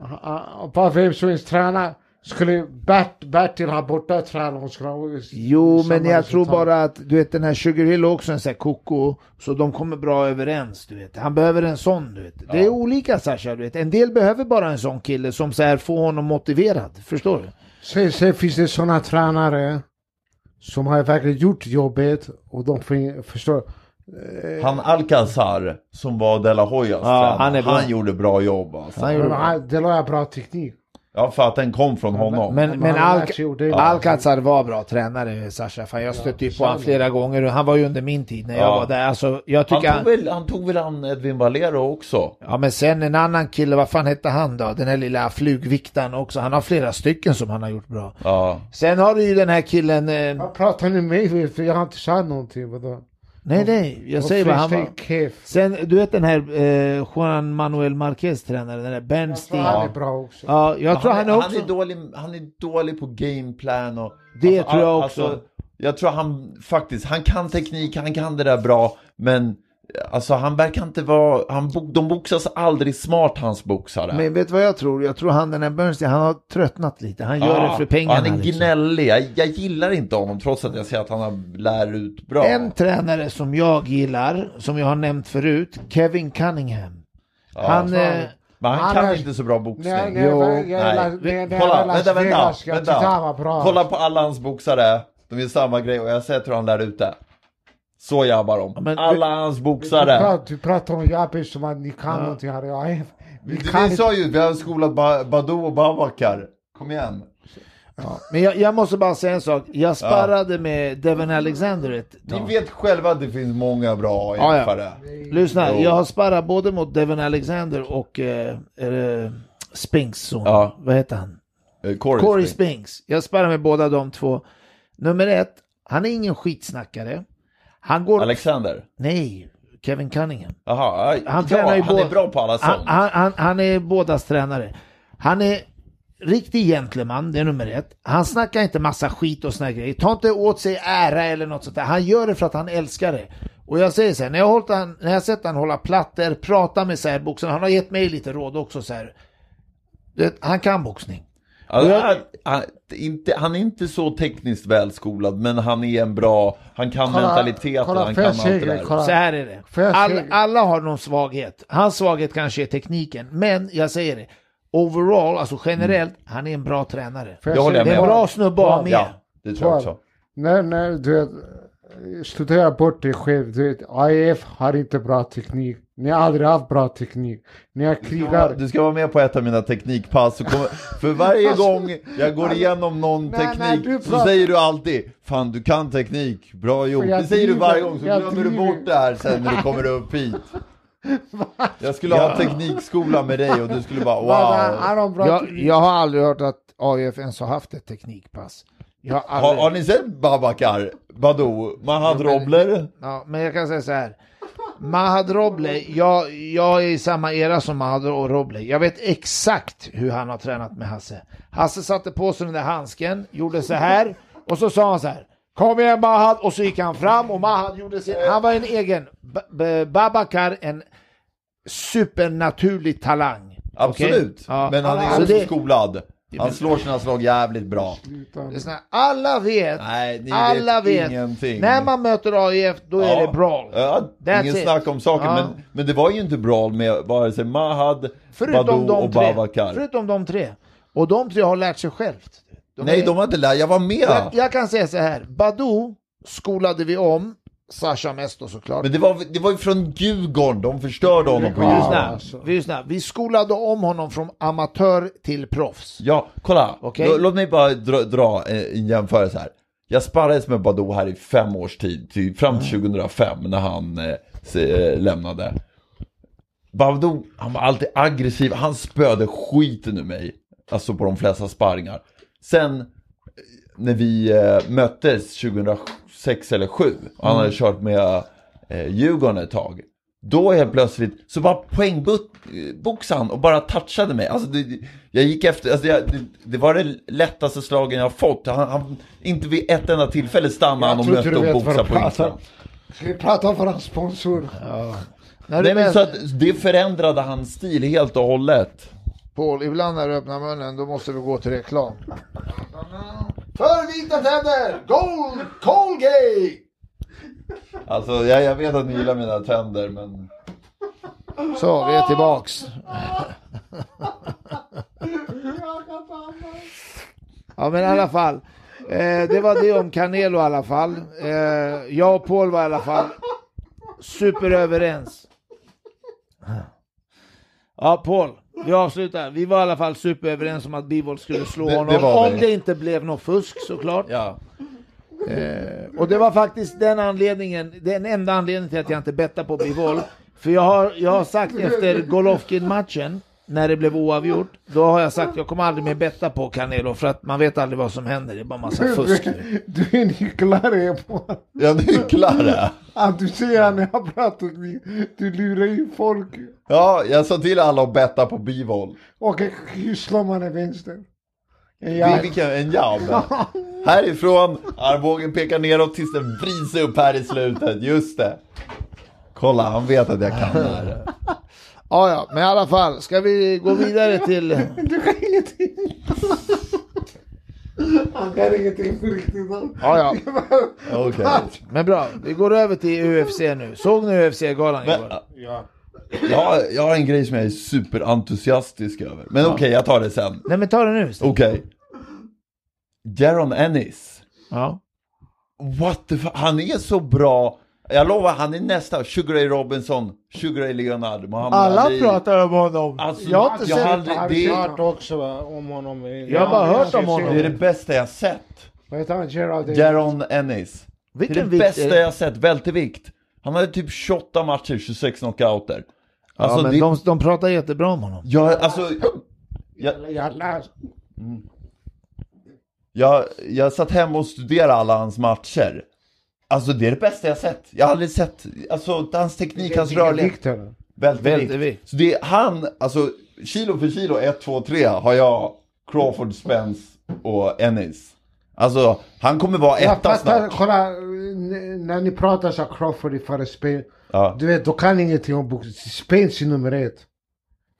Speaker 3: Han- han- Bara vem som helst tränar. Skulle Bert, Bertil ha borta tränar hon skulle ha
Speaker 1: Jo,
Speaker 3: samma
Speaker 1: men jag tror
Speaker 3: resultat.
Speaker 1: bara att du vet den här Sugar Hill är också en sån här koko, så de kommer bra överens. Du vet. Han behöver en sån. Du vet. Det är olika Sasha, du vet. En del behöver bara en sån kille som så här får honom motiverad. Förstår du?
Speaker 3: Sen, sen finns det sådana tränare som har verkligen gjort jobbet och de får, förstår.
Speaker 4: Han Alcazar, som var De La Hoyas
Speaker 1: Ja,
Speaker 4: tränare,
Speaker 1: han är bra.
Speaker 4: gjorde bra jobb alltså.
Speaker 1: Han gjorde
Speaker 3: Men
Speaker 1: bra.
Speaker 3: han- Det la jag bra teknik.
Speaker 4: Ja, för att den kom från honom.
Speaker 1: Men, men
Speaker 3: han har
Speaker 1: Alc
Speaker 3: lärt sig ordentligt.
Speaker 1: Alcazar var bra tränare, Sasha. Fan, jag stötte ju på honom flera gånger. Han var ju under min tid när jag
Speaker 4: Ja.
Speaker 1: var där. Alltså, jag
Speaker 4: han,
Speaker 1: tycker
Speaker 4: tog
Speaker 1: han,
Speaker 4: väl, han tog väl an Edvin Valero också?
Speaker 1: Ja, men sen en annan kille, vad fan hette han då? Den här lilla flugviktaren också. Han har flera stycken som han har gjort bra.
Speaker 4: Ja.
Speaker 1: Sen har du ju den här killen... Eh,
Speaker 3: Vad pratar ni med mig för? Jag har inte sagt någonting. Vadå?
Speaker 1: nej, nej, jag säger vad han var.
Speaker 3: Kef.
Speaker 1: Sen, du vet den här eh, Juan Manuel Marquez tränare, den där Ben Steen. Ja,
Speaker 3: Han är bra också.
Speaker 1: jag tror han,
Speaker 4: är,
Speaker 1: är också...
Speaker 4: han, är dålig, han är dålig på gameplan och...
Speaker 1: Det tror jag
Speaker 4: all-
Speaker 1: också.
Speaker 4: jag tror han faktiskt, han kan teknik, han kan det där bra, men alltså han verkar inte vara, han, bo- de boxas aldrig smart hans boxare.
Speaker 1: Men vet du vad jag tror? Jag tror han den här Bernstein, han har tröttnat lite. Han gör
Speaker 4: Ja,
Speaker 1: det för pengarna.
Speaker 4: Ah, Han är
Speaker 1: liksom.
Speaker 4: gnällig, jag, jag gillar inte honom trots att jag ser att han har- lär ut bra.
Speaker 1: En tränare som jag gillar, som jag har nämnt förut, Kevin Cunningham.
Speaker 4: Ja.
Speaker 1: han,
Speaker 3: fan.
Speaker 1: eh,
Speaker 4: Men han,
Speaker 3: Han
Speaker 4: kan
Speaker 3: är-
Speaker 4: inte så bra boxning.
Speaker 3: Nej, nej,
Speaker 1: Jo.
Speaker 3: nej,
Speaker 4: Nej.
Speaker 3: nej, nej, nej,
Speaker 4: Kolla,
Speaker 3: Las
Speaker 4: vänta, vänta,
Speaker 3: Vegas, jag
Speaker 4: vänta.
Speaker 3: tyckte han var bra.
Speaker 4: Kolla på alla hans boxare, de gör samma grej och jag ser hur han lär ut det. Så jabbar de.
Speaker 1: Ja, men-
Speaker 4: alla hans
Speaker 3: Du,
Speaker 4: boxare.
Speaker 3: pratar, du pratar om Jabbe som att ni kan någonting här. Jag är, ni
Speaker 4: Vi,
Speaker 3: kan
Speaker 4: vi
Speaker 3: inte.
Speaker 4: sa ju, vi har skolat ba, Badou och Babakar. Kom igen.
Speaker 1: ja. Men jag, jag måste bara säga en sak. Jag sparrade med Devin Alexander ett
Speaker 4: Ni
Speaker 1: tag.
Speaker 4: vet själva att det finns många bra
Speaker 1: Ja, Eh, ja.
Speaker 4: jämfare.
Speaker 1: Lyssna,
Speaker 4: Jo.
Speaker 1: jag har sparrat både mot Devin Alexander och eh, eh, Spinks son.
Speaker 4: Ja.
Speaker 1: Vad heter han?
Speaker 4: Eh, Corey,
Speaker 1: Corey
Speaker 4: Spring.
Speaker 1: Spinks. Jag sparrar med båda de två. Nummer ett, han är ingen skitsnackare. Han går...
Speaker 4: Alexander.
Speaker 1: Nej, Kevin Cunningham.
Speaker 4: Jaha, ja,
Speaker 1: Han tränar ju
Speaker 4: han
Speaker 1: bå-
Speaker 4: är bra på alla
Speaker 1: Han,
Speaker 4: sånt.
Speaker 1: han, han, han är bådas tränare. Han är riktig gentleman, det är nummer ett. Han snackar inte massa skit och såna här grejer. Ta inte åt sig ära eller något sånt där. Han gör det för att han älskar det. Och jag säger så här, när jag, har hållit han, när jag har sett han hålla plattor, prata med särboxarna, han har gett mig lite råd också så här. Det, han kan boxning.
Speaker 4: Alltså,
Speaker 1: Jag-
Speaker 4: han, han, inte, han är inte så tekniskt välskolad, men han är en bra... Han kan
Speaker 3: Kolla-
Speaker 4: mentaliteten,
Speaker 3: kolla,
Speaker 4: han
Speaker 3: får
Speaker 4: kan
Speaker 3: jag
Speaker 4: allt det
Speaker 3: säga,
Speaker 4: där.
Speaker 3: kolla.
Speaker 1: Så här är det.
Speaker 3: Får jag
Speaker 1: All,
Speaker 3: säga-
Speaker 1: alla har någon svaghet. Hans svaghet kanske är tekniken, men jag säger det. Overall, alltså generellt, han är en bra tränare.
Speaker 3: Får
Speaker 4: Det håller
Speaker 3: säga-
Speaker 1: Det är
Speaker 4: jag
Speaker 1: en
Speaker 4: med
Speaker 1: bra snubbe att ha med.
Speaker 4: Ja, det tror jag
Speaker 3: Kolla.
Speaker 4: också.
Speaker 3: Nej, nej, du vet. Studera bort dig själv. Du vet, AIF har inte bra teknik. Ni har aldrig haft bra teknik. Ni har krigat.
Speaker 4: Du ska vara med på ett av mina teknikpass. Så kommer, för varje gång jag går igenom någon
Speaker 3: Nej,
Speaker 4: teknik
Speaker 3: nej, du
Speaker 4: så
Speaker 3: pratar-
Speaker 4: säger du alltid Fan du kan teknik, bra jobb.
Speaker 3: jag
Speaker 4: Det säger du varje
Speaker 3: driver,
Speaker 4: gång så
Speaker 3: jag
Speaker 4: glömmer du
Speaker 3: driver.
Speaker 4: bort det här sen när du kommer upp hit. Jag skulle ha teknikskola med dig och du skulle bara
Speaker 3: Bara,
Speaker 4: wow.
Speaker 3: Han har bra
Speaker 1: Jag,
Speaker 3: teknik.
Speaker 1: jag har aldrig hört att AIF ens har haft ett teknikpass. Jag har
Speaker 4: Har,
Speaker 1: aldrig,
Speaker 4: har ni sett Babakar, Badou, Mahad Robler?
Speaker 1: ja, men jag kan säga så här. Mahad Roble, jag, jag är i samma era som Mahad och Roble. Jag vet exakt hur han har tränat med Hasse. Hasse satte på sig den där handsken, gjorde så här och så sa han så här. Kom igen Mahad! Och så gick han fram och Mahad gjorde sin... Han var en egen... B- B- Babakar, en supernaturlig talang.
Speaker 4: Absolut.
Speaker 1: Okej? Ja.
Speaker 4: Men han är
Speaker 1: Så
Speaker 4: också
Speaker 1: det-
Speaker 4: skolad. Han
Speaker 1: men-
Speaker 4: slår sina slag jävligt bra.
Speaker 1: det är sån här, alla vet,
Speaker 4: Nej, ni
Speaker 1: alla
Speaker 4: vet,
Speaker 1: vet.
Speaker 4: ingenting.
Speaker 1: När man möter AIF då är
Speaker 4: Ja.
Speaker 1: det bra.
Speaker 4: Ja,
Speaker 1: That's
Speaker 4: ingen
Speaker 1: it.
Speaker 4: snack om saken.
Speaker 1: Ja.
Speaker 4: Men, men det var ju inte bra med vare sig Mahad,
Speaker 1: Förutom
Speaker 4: Badou
Speaker 1: de,
Speaker 4: och
Speaker 1: tre.
Speaker 4: Babakar.
Speaker 1: Förutom de tre. Och de tre har lärt sig självt. De
Speaker 4: Nej,
Speaker 1: är-
Speaker 4: de var inte där. Jag var med.
Speaker 1: jag, jag kan säga så här, Badou skolade vi om, Sasha Mesto såklart.
Speaker 4: Men det var, det var ju från Djurgården. De förstörde honom på
Speaker 1: Vi är ju
Speaker 4: Djurgården.
Speaker 1: snäll. alltså. Vi är ju snäll. Vi skolade om honom från amatör till proffs.
Speaker 4: Ja, kolla.
Speaker 1: Okej.
Speaker 4: Lå- Låt mig bara dra, dra eh, en jämförelse här. Jag sparrades med Badou här i fem års tid, till, fram
Speaker 1: Mm.
Speaker 4: till 2005 när han eh, se, eh, lämnade. Badou, han var alltid aggressiv, han spöade skiten ur mig. Alltså på de flesta sparringar. Sen eh, när vi eh, möttes 2006 eller 2007, och han
Speaker 3: Mm.
Speaker 4: hade kört med eh, Djurgården ett tag. Då helt plötsligt så bara poängboxade han och bara touchade mig. Alltså det, det- jag gick efter, alltså jag, det, det var det lättaste slagen jag har fått. Han, han, inte vid ett enda tillfälle stannade
Speaker 3: Jag
Speaker 4: han och
Speaker 3: tror inte
Speaker 4: mötte
Speaker 3: du
Speaker 4: och
Speaker 3: vet vad
Speaker 4: boxade
Speaker 3: du
Speaker 4: på
Speaker 3: pratar
Speaker 4: ytan.
Speaker 3: om. Ska vi prata om våran sponsor?
Speaker 1: När
Speaker 4: Nej
Speaker 1: du
Speaker 4: men
Speaker 1: väl,
Speaker 4: så att det förändrade hans stil helt och hållet.
Speaker 1: Paul, ibland när du öppnar munnen då måste vi gå till reklam. För vita tänder! Gold Colgate!
Speaker 4: Alltså jag, jag vet att ni gillar mina tänder men...
Speaker 1: Så, vi är tillbaks. Ja men i alla fall. Eh, det var det om Canelo i alla fall. Eh, jag och Paul var i alla fall superöverens. Ja Paul, vi avslutar. Vi var i alla fall superöverens om att Bivold skulle slå
Speaker 4: Det- det
Speaker 1: honom.
Speaker 4: var vi.
Speaker 1: om det inte blev något fusk såklart.
Speaker 4: Ja.
Speaker 1: Eh, Och det var faktiskt den anledningen, den enda anledningen till att jag inte bettade på Bivol. För jag har, jag har sagt efter Golovkin-matchen, när det blev oavgjort, då har jag sagt jag kommer aldrig mer betta på Canelo för att man vet aldrig vad som händer, det är bara massa fusk nu.
Speaker 3: Du är nycklare på
Speaker 4: Jag nycklar det.
Speaker 3: att du säger han är apparatteknik. Du lurar ju folk.
Speaker 4: Ja, jag sa till alla att betta på bivåld.
Speaker 3: Och hur slår man en vänster? En
Speaker 4: Vi
Speaker 3: jab.
Speaker 4: fick en- en jab. Härifrån, armbågen pekar neråt tills den vrids upp här i slutet. Just det. Kolla, han vet att jag kan det här.
Speaker 1: Ja, ja, men i alla fall, ska vi gå vidare till...
Speaker 3: Du kan ingenting. Han kan ingenting på riktigt.
Speaker 1: Ja, ja,
Speaker 4: Okej.
Speaker 1: men bra. Vi går över till UFC nu. Såg ni UFC-galan
Speaker 4: Men,
Speaker 1: igår?
Speaker 4: Jag, har- jag har en grej som jag är superentusiastisk över. Men okej, jag tar det sen.
Speaker 1: Nej, men ta det nu. Stig.
Speaker 4: Okej. Jaron Ennis.
Speaker 1: Ja.
Speaker 4: What the fuck? Han är så bra. Jag lovar, han är nästa. Sugar Ray Robinson, Sugar Ray Leonard, Muhammad Ali.
Speaker 1: om honom.
Speaker 4: Alltså,
Speaker 1: jag har inte
Speaker 4: jag
Speaker 1: sett...
Speaker 4: har aldrig-
Speaker 3: Han
Speaker 4: det-
Speaker 3: kör-
Speaker 5: Hört också va, om honom.
Speaker 1: Jag har bara hört om honom.
Speaker 4: Det är det bästa jag sett.
Speaker 3: Vad heter han? Gerald?
Speaker 4: Jaron Ennis. Det är
Speaker 1: Vilken
Speaker 4: det
Speaker 1: vikt
Speaker 4: bästa
Speaker 1: är det? eh,
Speaker 4: jag sett, vältevikt. Han hade typ 28 matcher, 26 knockouter. Alltså,
Speaker 1: Ja, men
Speaker 4: det,
Speaker 1: de, de pratar jättebra om honom.
Speaker 4: jag, alltså, jag,
Speaker 3: Jag läste.
Speaker 4: jag, jag satt hemma och studerade alla hans matcher. Alltså det är det bästa jag sett. Jag har aldrig sett, alltså hans teknik, hans rörlighet.
Speaker 3: Viktor.
Speaker 4: Vältevikt.
Speaker 1: Vältevikt.
Speaker 4: Så det är han, alltså kilo för kilo, 1, 2, 3 har jag Crawford, Spence och Ennis. Alltså han kommer vara
Speaker 3: Jag
Speaker 4: etta
Speaker 3: fattar,
Speaker 4: snart.
Speaker 3: kolla, n- när ni pratar så här Crawford i före spel.
Speaker 4: Ja.
Speaker 3: Du vet, då kan ingenting om boxning. Spence är nummer ett.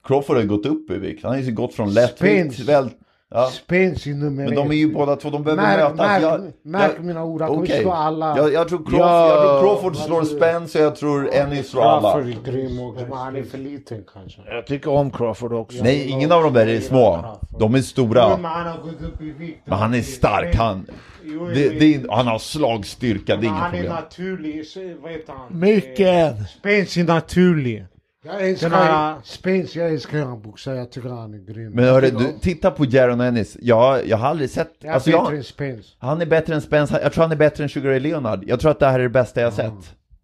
Speaker 4: Crawford har ju gått upp i vikt, han har ju gått från lättvikt till
Speaker 3: Spence.
Speaker 4: väl... Ja.
Speaker 3: Spence är nummer
Speaker 4: Men de är
Speaker 3: ett.
Speaker 4: ju båda två, de behöver
Speaker 3: Märk,
Speaker 4: mötas.
Speaker 3: märk,
Speaker 4: Jag-
Speaker 3: märk
Speaker 4: jag-
Speaker 3: mina ord, han kommer
Speaker 4: okej.
Speaker 3: slå alla.
Speaker 4: Jag, jag, tror Crawford,
Speaker 1: Ja.
Speaker 4: jag tror Crawford slår Spence och jag tror Ennis slår alla.
Speaker 5: Crawford är grym också. Men han är för liten kanske.
Speaker 1: Jag tycker om Crawford också.
Speaker 4: Nej, ingen av de där är små. De är
Speaker 5: Men
Speaker 4: stora.
Speaker 5: han har gått upp i vikt.
Speaker 4: Men han är stark, han.
Speaker 5: Jo, jo,
Speaker 4: Det,
Speaker 5: jo.
Speaker 4: det är, han har slagstyrka, det är
Speaker 5: Men
Speaker 4: inget
Speaker 5: han är
Speaker 4: problem.
Speaker 5: naturlig. så- Vad heter han? Eh,
Speaker 1: Mycket!
Speaker 5: Spence är naturlig.
Speaker 3: Jag älskar
Speaker 5: Den här-
Speaker 3: Spence, jag älskar hur han boxar. Jag tycker han är grym.
Speaker 4: Men hörru, du, titta på Jaron Ennis. Jag, jag har aldrig sett...
Speaker 3: jag är
Speaker 4: Alltså
Speaker 3: bättre
Speaker 4: jag,
Speaker 3: än Spence.
Speaker 4: han är bättre än Spence, jag tror han är bättre än Sugar Ray Leonard. Jag tror att det här är det bästa jag sett.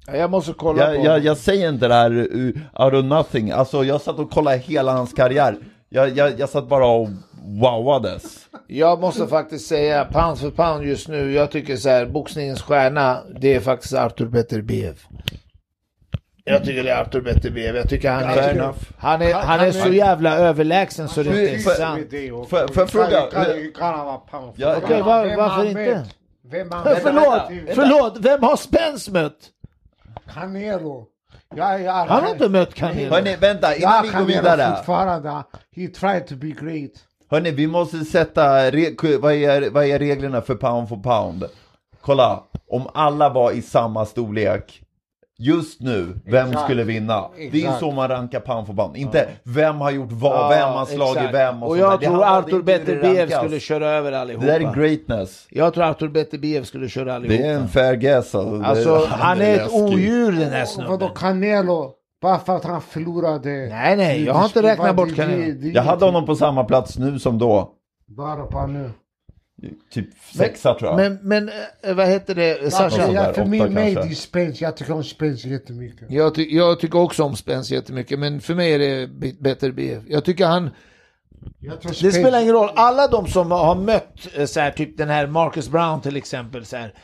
Speaker 1: Ja, Jag måste kolla på
Speaker 4: Jag, jag, jag säger inte det här uh, out of nothing, alltså jag satt och kollade hela hans karriär. Jag, jag, jag satt bara och wowades.
Speaker 1: Jag måste faktiskt säga, pound för pound just nu, jag tycker så här, boxningens stjärna, det är faktiskt Artur Beterbiev. Jag tycker det är Artur Beterbiev, jag tycker han
Speaker 4: Fair
Speaker 1: är,
Speaker 4: enough.
Speaker 1: han är, han är så jävla överlägsen så det är inte är sant.
Speaker 4: Får får jag fråga?
Speaker 5: Hur kan han vara pound?
Speaker 4: Ja,
Speaker 1: Okej,
Speaker 4: ja.
Speaker 1: var,
Speaker 3: Vem
Speaker 1: varför
Speaker 3: han
Speaker 1: inte?
Speaker 3: mött? Vem han
Speaker 1: Men
Speaker 3: mött?
Speaker 1: Förlåt, förlåt, vem har Spence mött?
Speaker 3: Canelo. Jag, jag,
Speaker 1: Han har inte mött Canelo.
Speaker 4: Hörni, vänta innan
Speaker 3: Jag
Speaker 4: vi går
Speaker 3: kan
Speaker 4: vidare.
Speaker 3: göra fortfarande. He tried to be great.
Speaker 4: Hörni, vi måste sätta, re- ku- vad är, vad är reglerna för pound for pound? Kolla, om alla var i samma storlek just nu, vem
Speaker 3: Exakt.
Speaker 4: skulle vinna? Det är
Speaker 3: Exakt.
Speaker 4: så man rankar pound for pound, inte vem har gjort vad, vem har slagit
Speaker 1: exakt.
Speaker 4: vem och,
Speaker 1: Och
Speaker 4: sånt där.
Speaker 1: jag
Speaker 4: Det
Speaker 1: tror
Speaker 4: handlar
Speaker 1: Arthur
Speaker 4: inte om hur det
Speaker 1: Beterbiev
Speaker 4: rankas.
Speaker 1: skulle köra över allihopa.
Speaker 4: Det där är greatness,
Speaker 1: Jag tror Arthur Beterbiev skulle köra allihopa.
Speaker 4: det är en fair guess alltså. Det-
Speaker 1: Alltså, han är ett
Speaker 4: läskig.
Speaker 1: odjur den här
Speaker 3: Och Vadå
Speaker 1: snubben.
Speaker 3: Canelo? Bara för att han förlorade.
Speaker 1: Nej, nej, jag har inte
Speaker 3: Det-
Speaker 1: räknat bort
Speaker 3: det-
Speaker 1: Canelo.
Speaker 3: det-
Speaker 4: Jag hade honom på samma plats nu som då,
Speaker 3: Bara på nu.
Speaker 4: typ sexa tror jag.
Speaker 1: Men, men eh, vad heter det,
Speaker 4: Något
Speaker 1: Sasha?
Speaker 4: sånt där,
Speaker 3: Jag, för mig,
Speaker 4: åtta
Speaker 3: mig det
Speaker 4: kanske.
Speaker 3: är Spence. Jag tycker om Spence jättemycket.
Speaker 1: Jag, ty- jag tycker också om Spence jättemycket, men för mig är det B- Beterbiev. Jag tycker han...
Speaker 3: Jag tror
Speaker 1: Det
Speaker 3: Spence-
Speaker 1: spelar ingen roll. Alla de som har mött eh, så här, typ den här Marcus Brown till exempel. Så här,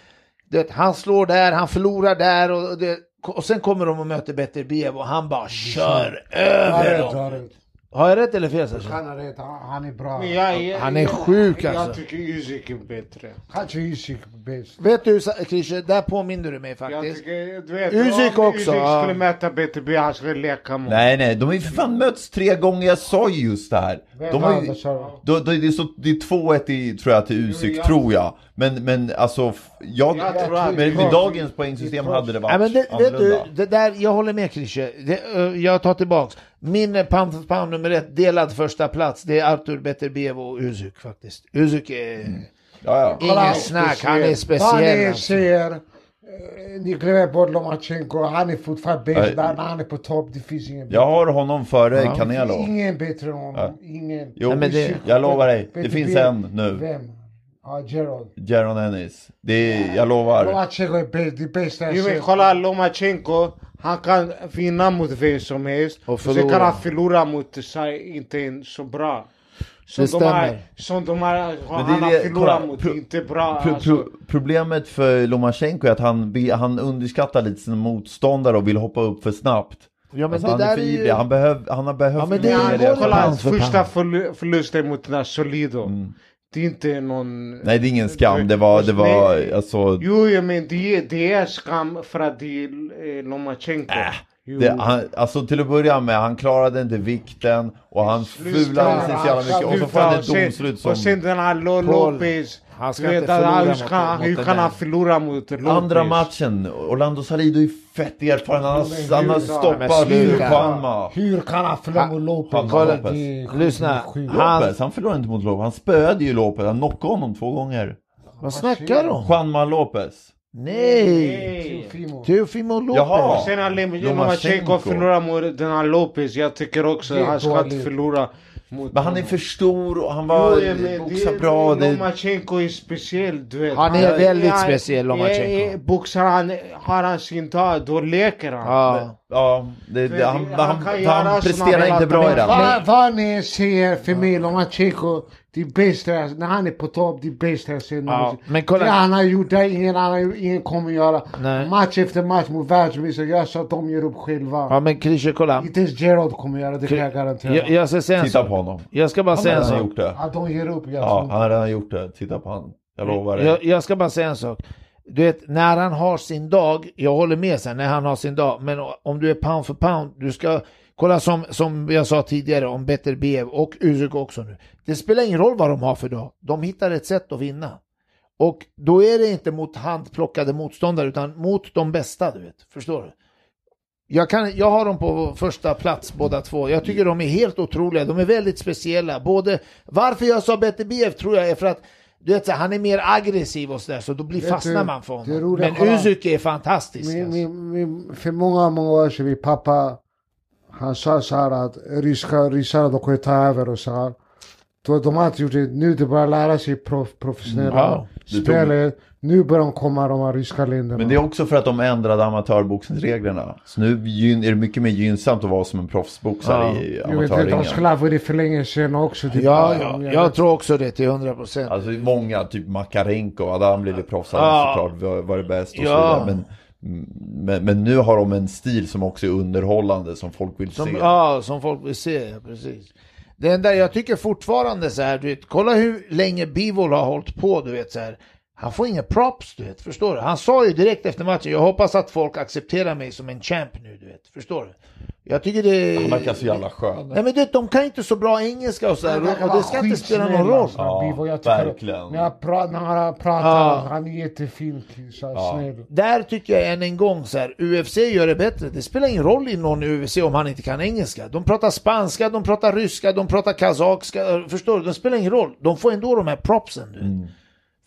Speaker 1: du vet, han slår där, han förlorar där och, det, och sen kommer de och möter Beterbiev och han bara kör
Speaker 3: Ja,
Speaker 1: över
Speaker 3: rätt,
Speaker 1: dem.
Speaker 3: ja, rätt.
Speaker 1: Har jag rätt eller fel Sasha?
Speaker 3: Han är rätt. Han han är bra.
Speaker 5: Men jag- jag-
Speaker 1: Han är
Speaker 5: jag-
Speaker 1: sjuk, alltså.
Speaker 5: Jag tycker Usyk är bättre.
Speaker 3: Kanske Usyk bäst.
Speaker 1: Vet du Sa- Christer, där påminner du mig
Speaker 5: Jag
Speaker 1: faktiskt.
Speaker 5: tycker, du vet,
Speaker 1: Usyk
Speaker 5: om
Speaker 1: också,
Speaker 5: Usyk
Speaker 1: ja.
Speaker 5: skulle möta BTB, han skulle leka mot.
Speaker 4: Nej nej, de har ju för fan mötts tre gånger, jag sa ju just det här. De har ju... Då, då, det är, så- det är 2-1 i, tror jag till Usyk,
Speaker 5: Jo, ja.
Speaker 4: tror jag. Men, men alltså, f- jag,
Speaker 5: Jag tror att-
Speaker 4: men
Speaker 5: vi-
Speaker 4: med dagens poängsystem hade det
Speaker 1: Ja,
Speaker 4: varit
Speaker 1: men det, vet du,
Speaker 4: annorlunda.
Speaker 1: det där, jag håller med Christer. Det, eh, jag tar tillbaks. Min eh, pound for pound nummer ett, delad första plats, det är Arthur Beterbiev och Usyk faktiskt. Usyk
Speaker 4: Mm.
Speaker 1: är...
Speaker 4: Ja, ja.
Speaker 1: Ingen snack, han är
Speaker 3: Han
Speaker 1: speciell.
Speaker 3: är
Speaker 1: alltså.
Speaker 3: ser, eh, ni glömmer bort Lomachenko, han är fortfarande
Speaker 4: Nej.
Speaker 3: bäst där, men han är på topp, det finns ingen
Speaker 4: Jag har honom före Canelo.
Speaker 3: Ingen bättre än honom, ingen.
Speaker 4: Jo,
Speaker 1: Nej, men det-
Speaker 3: Usyk-
Speaker 4: jag lovar dig, det
Speaker 3: Peter
Speaker 4: finns
Speaker 3: Bill.
Speaker 4: en nu.
Speaker 3: Vem? Ja, Gerald.
Speaker 4: Jaron Ennis. Det är, jag lovar.
Speaker 3: Lomachenko är bäst, det bästa jag
Speaker 5: Jo, men
Speaker 3: sett.
Speaker 5: kolla Lomachenko, han kan vinna mot vem som helst.
Speaker 1: Och
Speaker 5: Sen
Speaker 1: förlora.
Speaker 5: kan han förlora mot sig inte en så bra. Som
Speaker 1: Det
Speaker 5: de här,
Speaker 1: stämmer.
Speaker 5: som de här,
Speaker 4: är
Speaker 5: han har
Speaker 4: det-
Speaker 5: förlorat
Speaker 4: kolla,
Speaker 5: mot,
Speaker 4: pro-
Speaker 5: inte bra.
Speaker 4: Pro,
Speaker 5: alltså.
Speaker 4: pro, problemet för Lomachenko är att han, be- han underskattar lite sin motståndare och vill hoppa upp för snabbt.
Speaker 1: Ja, men
Speaker 4: Alltså,
Speaker 1: det
Speaker 4: han är
Speaker 1: där
Speaker 4: för
Speaker 1: är
Speaker 4: ivrig,
Speaker 1: ju...
Speaker 4: han, behöv, han har behövt
Speaker 1: Ja, men det
Speaker 4: mer
Speaker 1: är
Speaker 4: i
Speaker 1: ju
Speaker 4: det.
Speaker 1: vår
Speaker 5: Kolla
Speaker 1: pound
Speaker 5: hans
Speaker 1: för
Speaker 5: första
Speaker 1: pound.
Speaker 5: förlu- förlust är mot den här Solido.
Speaker 3: Mm.
Speaker 5: Det är inte någon...
Speaker 4: Nej, det är ingen skam. Det var, det var,
Speaker 5: Nej.
Speaker 4: alltså,
Speaker 5: Jo, jo, men det, är- det är skam för att det är eh, Lomachenko.
Speaker 3: Äh.
Speaker 5: Jo.
Speaker 4: Det, han, alltså till att börja med, han klarade inte vikten och han fulade sig så jävla mycket och så får han ett
Speaker 5: Sluta, och sen-
Speaker 4: domslut som...
Speaker 5: Och sen den här Lo-
Speaker 1: Paul,
Speaker 5: Lopez.
Speaker 1: han ska
Speaker 5: du vet
Speaker 1: inte
Speaker 5: att
Speaker 1: förlora
Speaker 5: Hur
Speaker 1: mot-
Speaker 5: ska han-
Speaker 1: mot
Speaker 5: hur
Speaker 1: den
Speaker 5: kan
Speaker 1: där.
Speaker 5: han förlora mot Lopez?
Speaker 4: Andra matchen, Orlando Salido är fett erfaren, han har, han har
Speaker 1: Men
Speaker 4: stoppat
Speaker 1: sluta.
Speaker 4: Panama.
Speaker 3: Hur kan han förlora mot
Speaker 4: Han-
Speaker 3: Lopez?
Speaker 4: kolla,
Speaker 3: Det är sjukt,
Speaker 1: lyssna.
Speaker 3: sjukt.
Speaker 1: Han-
Speaker 4: Lopez, han förlorade inte mot Lopez, han spöade ju Lopez, han knockade honom två gånger.
Speaker 1: Vad snackar du om?
Speaker 4: Juanma Lopez.
Speaker 1: Nej!
Speaker 3: Teofimo.
Speaker 1: Teofimo Lopez.
Speaker 4: Jaha.
Speaker 5: Sen har Lem-
Speaker 4: Lomachenko.
Speaker 5: Lomachenko förlorat mot den här Lopez. Jag tycker också
Speaker 3: Det är
Speaker 5: han ska
Speaker 3: dåligt.
Speaker 5: inte förlora mot
Speaker 4: Men han är för stor och han var,
Speaker 5: Jo, men
Speaker 4: boxade
Speaker 5: det-
Speaker 4: bra. Det,
Speaker 5: Lomachenko är speciell, du vet.
Speaker 1: Han är väldigt
Speaker 5: han-
Speaker 1: speciell, Lomachenko.
Speaker 5: eh, eh, Boxar han, har han sin dag, då leker han.
Speaker 1: Ja.
Speaker 4: ja, det, det, han,
Speaker 5: Han
Speaker 4: han,
Speaker 5: kan
Speaker 4: han,
Speaker 5: göra såna
Speaker 4: presterar
Speaker 5: hela
Speaker 4: inte bra i
Speaker 5: tiden.
Speaker 4: den.
Speaker 3: Vad, vad ni säger för mig, Lomachenko, det bästa, jag- när han är på topp, det bästa jag ser någonsin.
Speaker 1: men kolla-
Speaker 3: Det han har gjort, det har ingen annan gjort, ingen kommer göra.
Speaker 1: Nej.
Speaker 3: Match efter match mot världsmästare, jag sa att de ger upp själva.
Speaker 1: Ja men Christer kolla.
Speaker 3: Inte ens Gerard kommer göra det, kan jag garantera.
Speaker 1: Jag, jag ska säga en
Speaker 4: Titta
Speaker 1: sak.
Speaker 4: på honom.
Speaker 1: Jag ska bara
Speaker 3: Alltså,
Speaker 4: Han har
Speaker 1: säga en
Speaker 4: redan
Speaker 1: sak.
Speaker 4: gjort det.
Speaker 3: Att de ger upp, jag
Speaker 4: Ja,
Speaker 3: tror
Speaker 4: han har redan gjort det. Titta på han. Jag lovar dig.
Speaker 1: Jag, jag ska bara säga en sak. Du vet, när han har sin dag, jag håller med sen när han har sin dag, men om du är pound för pound, du ska kolla som, som jag sa tidigare om Beterbiev och Usyk också nu. Det spelar ingen roll vad de har för dag, de hittar ett sätt att vinna. Och då är det inte mot handplockade motståndare utan mot de bästa, du vet. Förstår du? Jag, kan, jag har dem på första plats båda två. Jag tycker de är helt otroliga. De är väldigt speciella. Både, varför jag sa BTBF tror jag är för att du vet, så här, han är mer aggressiv och sådär så då blir,
Speaker 3: Vet
Speaker 1: fastnar
Speaker 3: du,
Speaker 1: man för
Speaker 3: det
Speaker 1: honom.
Speaker 3: roliga,
Speaker 1: Men
Speaker 3: kolla.
Speaker 1: Usyk är fantastisk.
Speaker 3: Min,
Speaker 1: alltså.
Speaker 3: min, min, för många, många år sedan, min pappa, han sa så här att ryska, ryssarna de kommer ta över och så här. Då de har inte gjort det, nu de börjar lära sig prof, professionella
Speaker 1: Ja,
Speaker 4: det tog-
Speaker 3: spelet. Nu börjar de komma de här ryska länderna.
Speaker 4: Men det är också för att de ändrade amatörboxningsreglerna. Så nu gyn- är det mycket mer gynnsamt att vara som en proffsboxare
Speaker 1: Ja.
Speaker 4: i
Speaker 3: jag vet inte,
Speaker 4: amatörringen.
Speaker 3: de skulle ha varit för länge sedan också. typ. det är
Speaker 1: Ja,
Speaker 3: bara-
Speaker 1: ja,
Speaker 3: jag
Speaker 1: jag
Speaker 3: vet.
Speaker 1: tror också det till 100 procent.
Speaker 4: Alltså många, typ Makarenko, hade han blivit proffs hade
Speaker 1: Ja.
Speaker 4: såklart var- varit bäst och
Speaker 1: Ja.
Speaker 4: så vidare. Men, men, men nu har de en stil som också är underhållande, som folk vill se.
Speaker 1: Som, ja, som folk vill se, ja, precis. Det enda jag tycker fortfarande så här, du vet, kolla hur länge Bivol har hållit på, du vet så här. Han får inga props, du vet. Förstår du? Han sa ju direkt efter matchen, jag hoppas att folk accepterar mig som en champ nu, du vet. Förstår du? Jag tycker det...
Speaker 4: Han verkar så jävla skön.
Speaker 1: Nej men du vet, de kan ju inte så bra engelska och så här,
Speaker 3: Han verkar
Speaker 1: och det
Speaker 3: vara
Speaker 1: ska inte spela någon
Speaker 3: skitsnäll,
Speaker 1: roll.
Speaker 3: alltså,
Speaker 4: Ja,
Speaker 3: Bivo. Jag tycker-
Speaker 4: verkligen.
Speaker 3: När jag pra- när han pratar,
Speaker 1: Ja.
Speaker 3: han är jättefin. Så här,
Speaker 4: Ja.
Speaker 3: snäll.
Speaker 1: Där tycker jag än en gång så här, UFC gör det bättre. Det spelar ingen roll i någon i UFC om han inte kan engelska. De pratar spanska, de pratar ryska, de pratar kazakska. eh, Förstår du? Det spelar ingen roll. De får ändå de här propsen. Du. vet.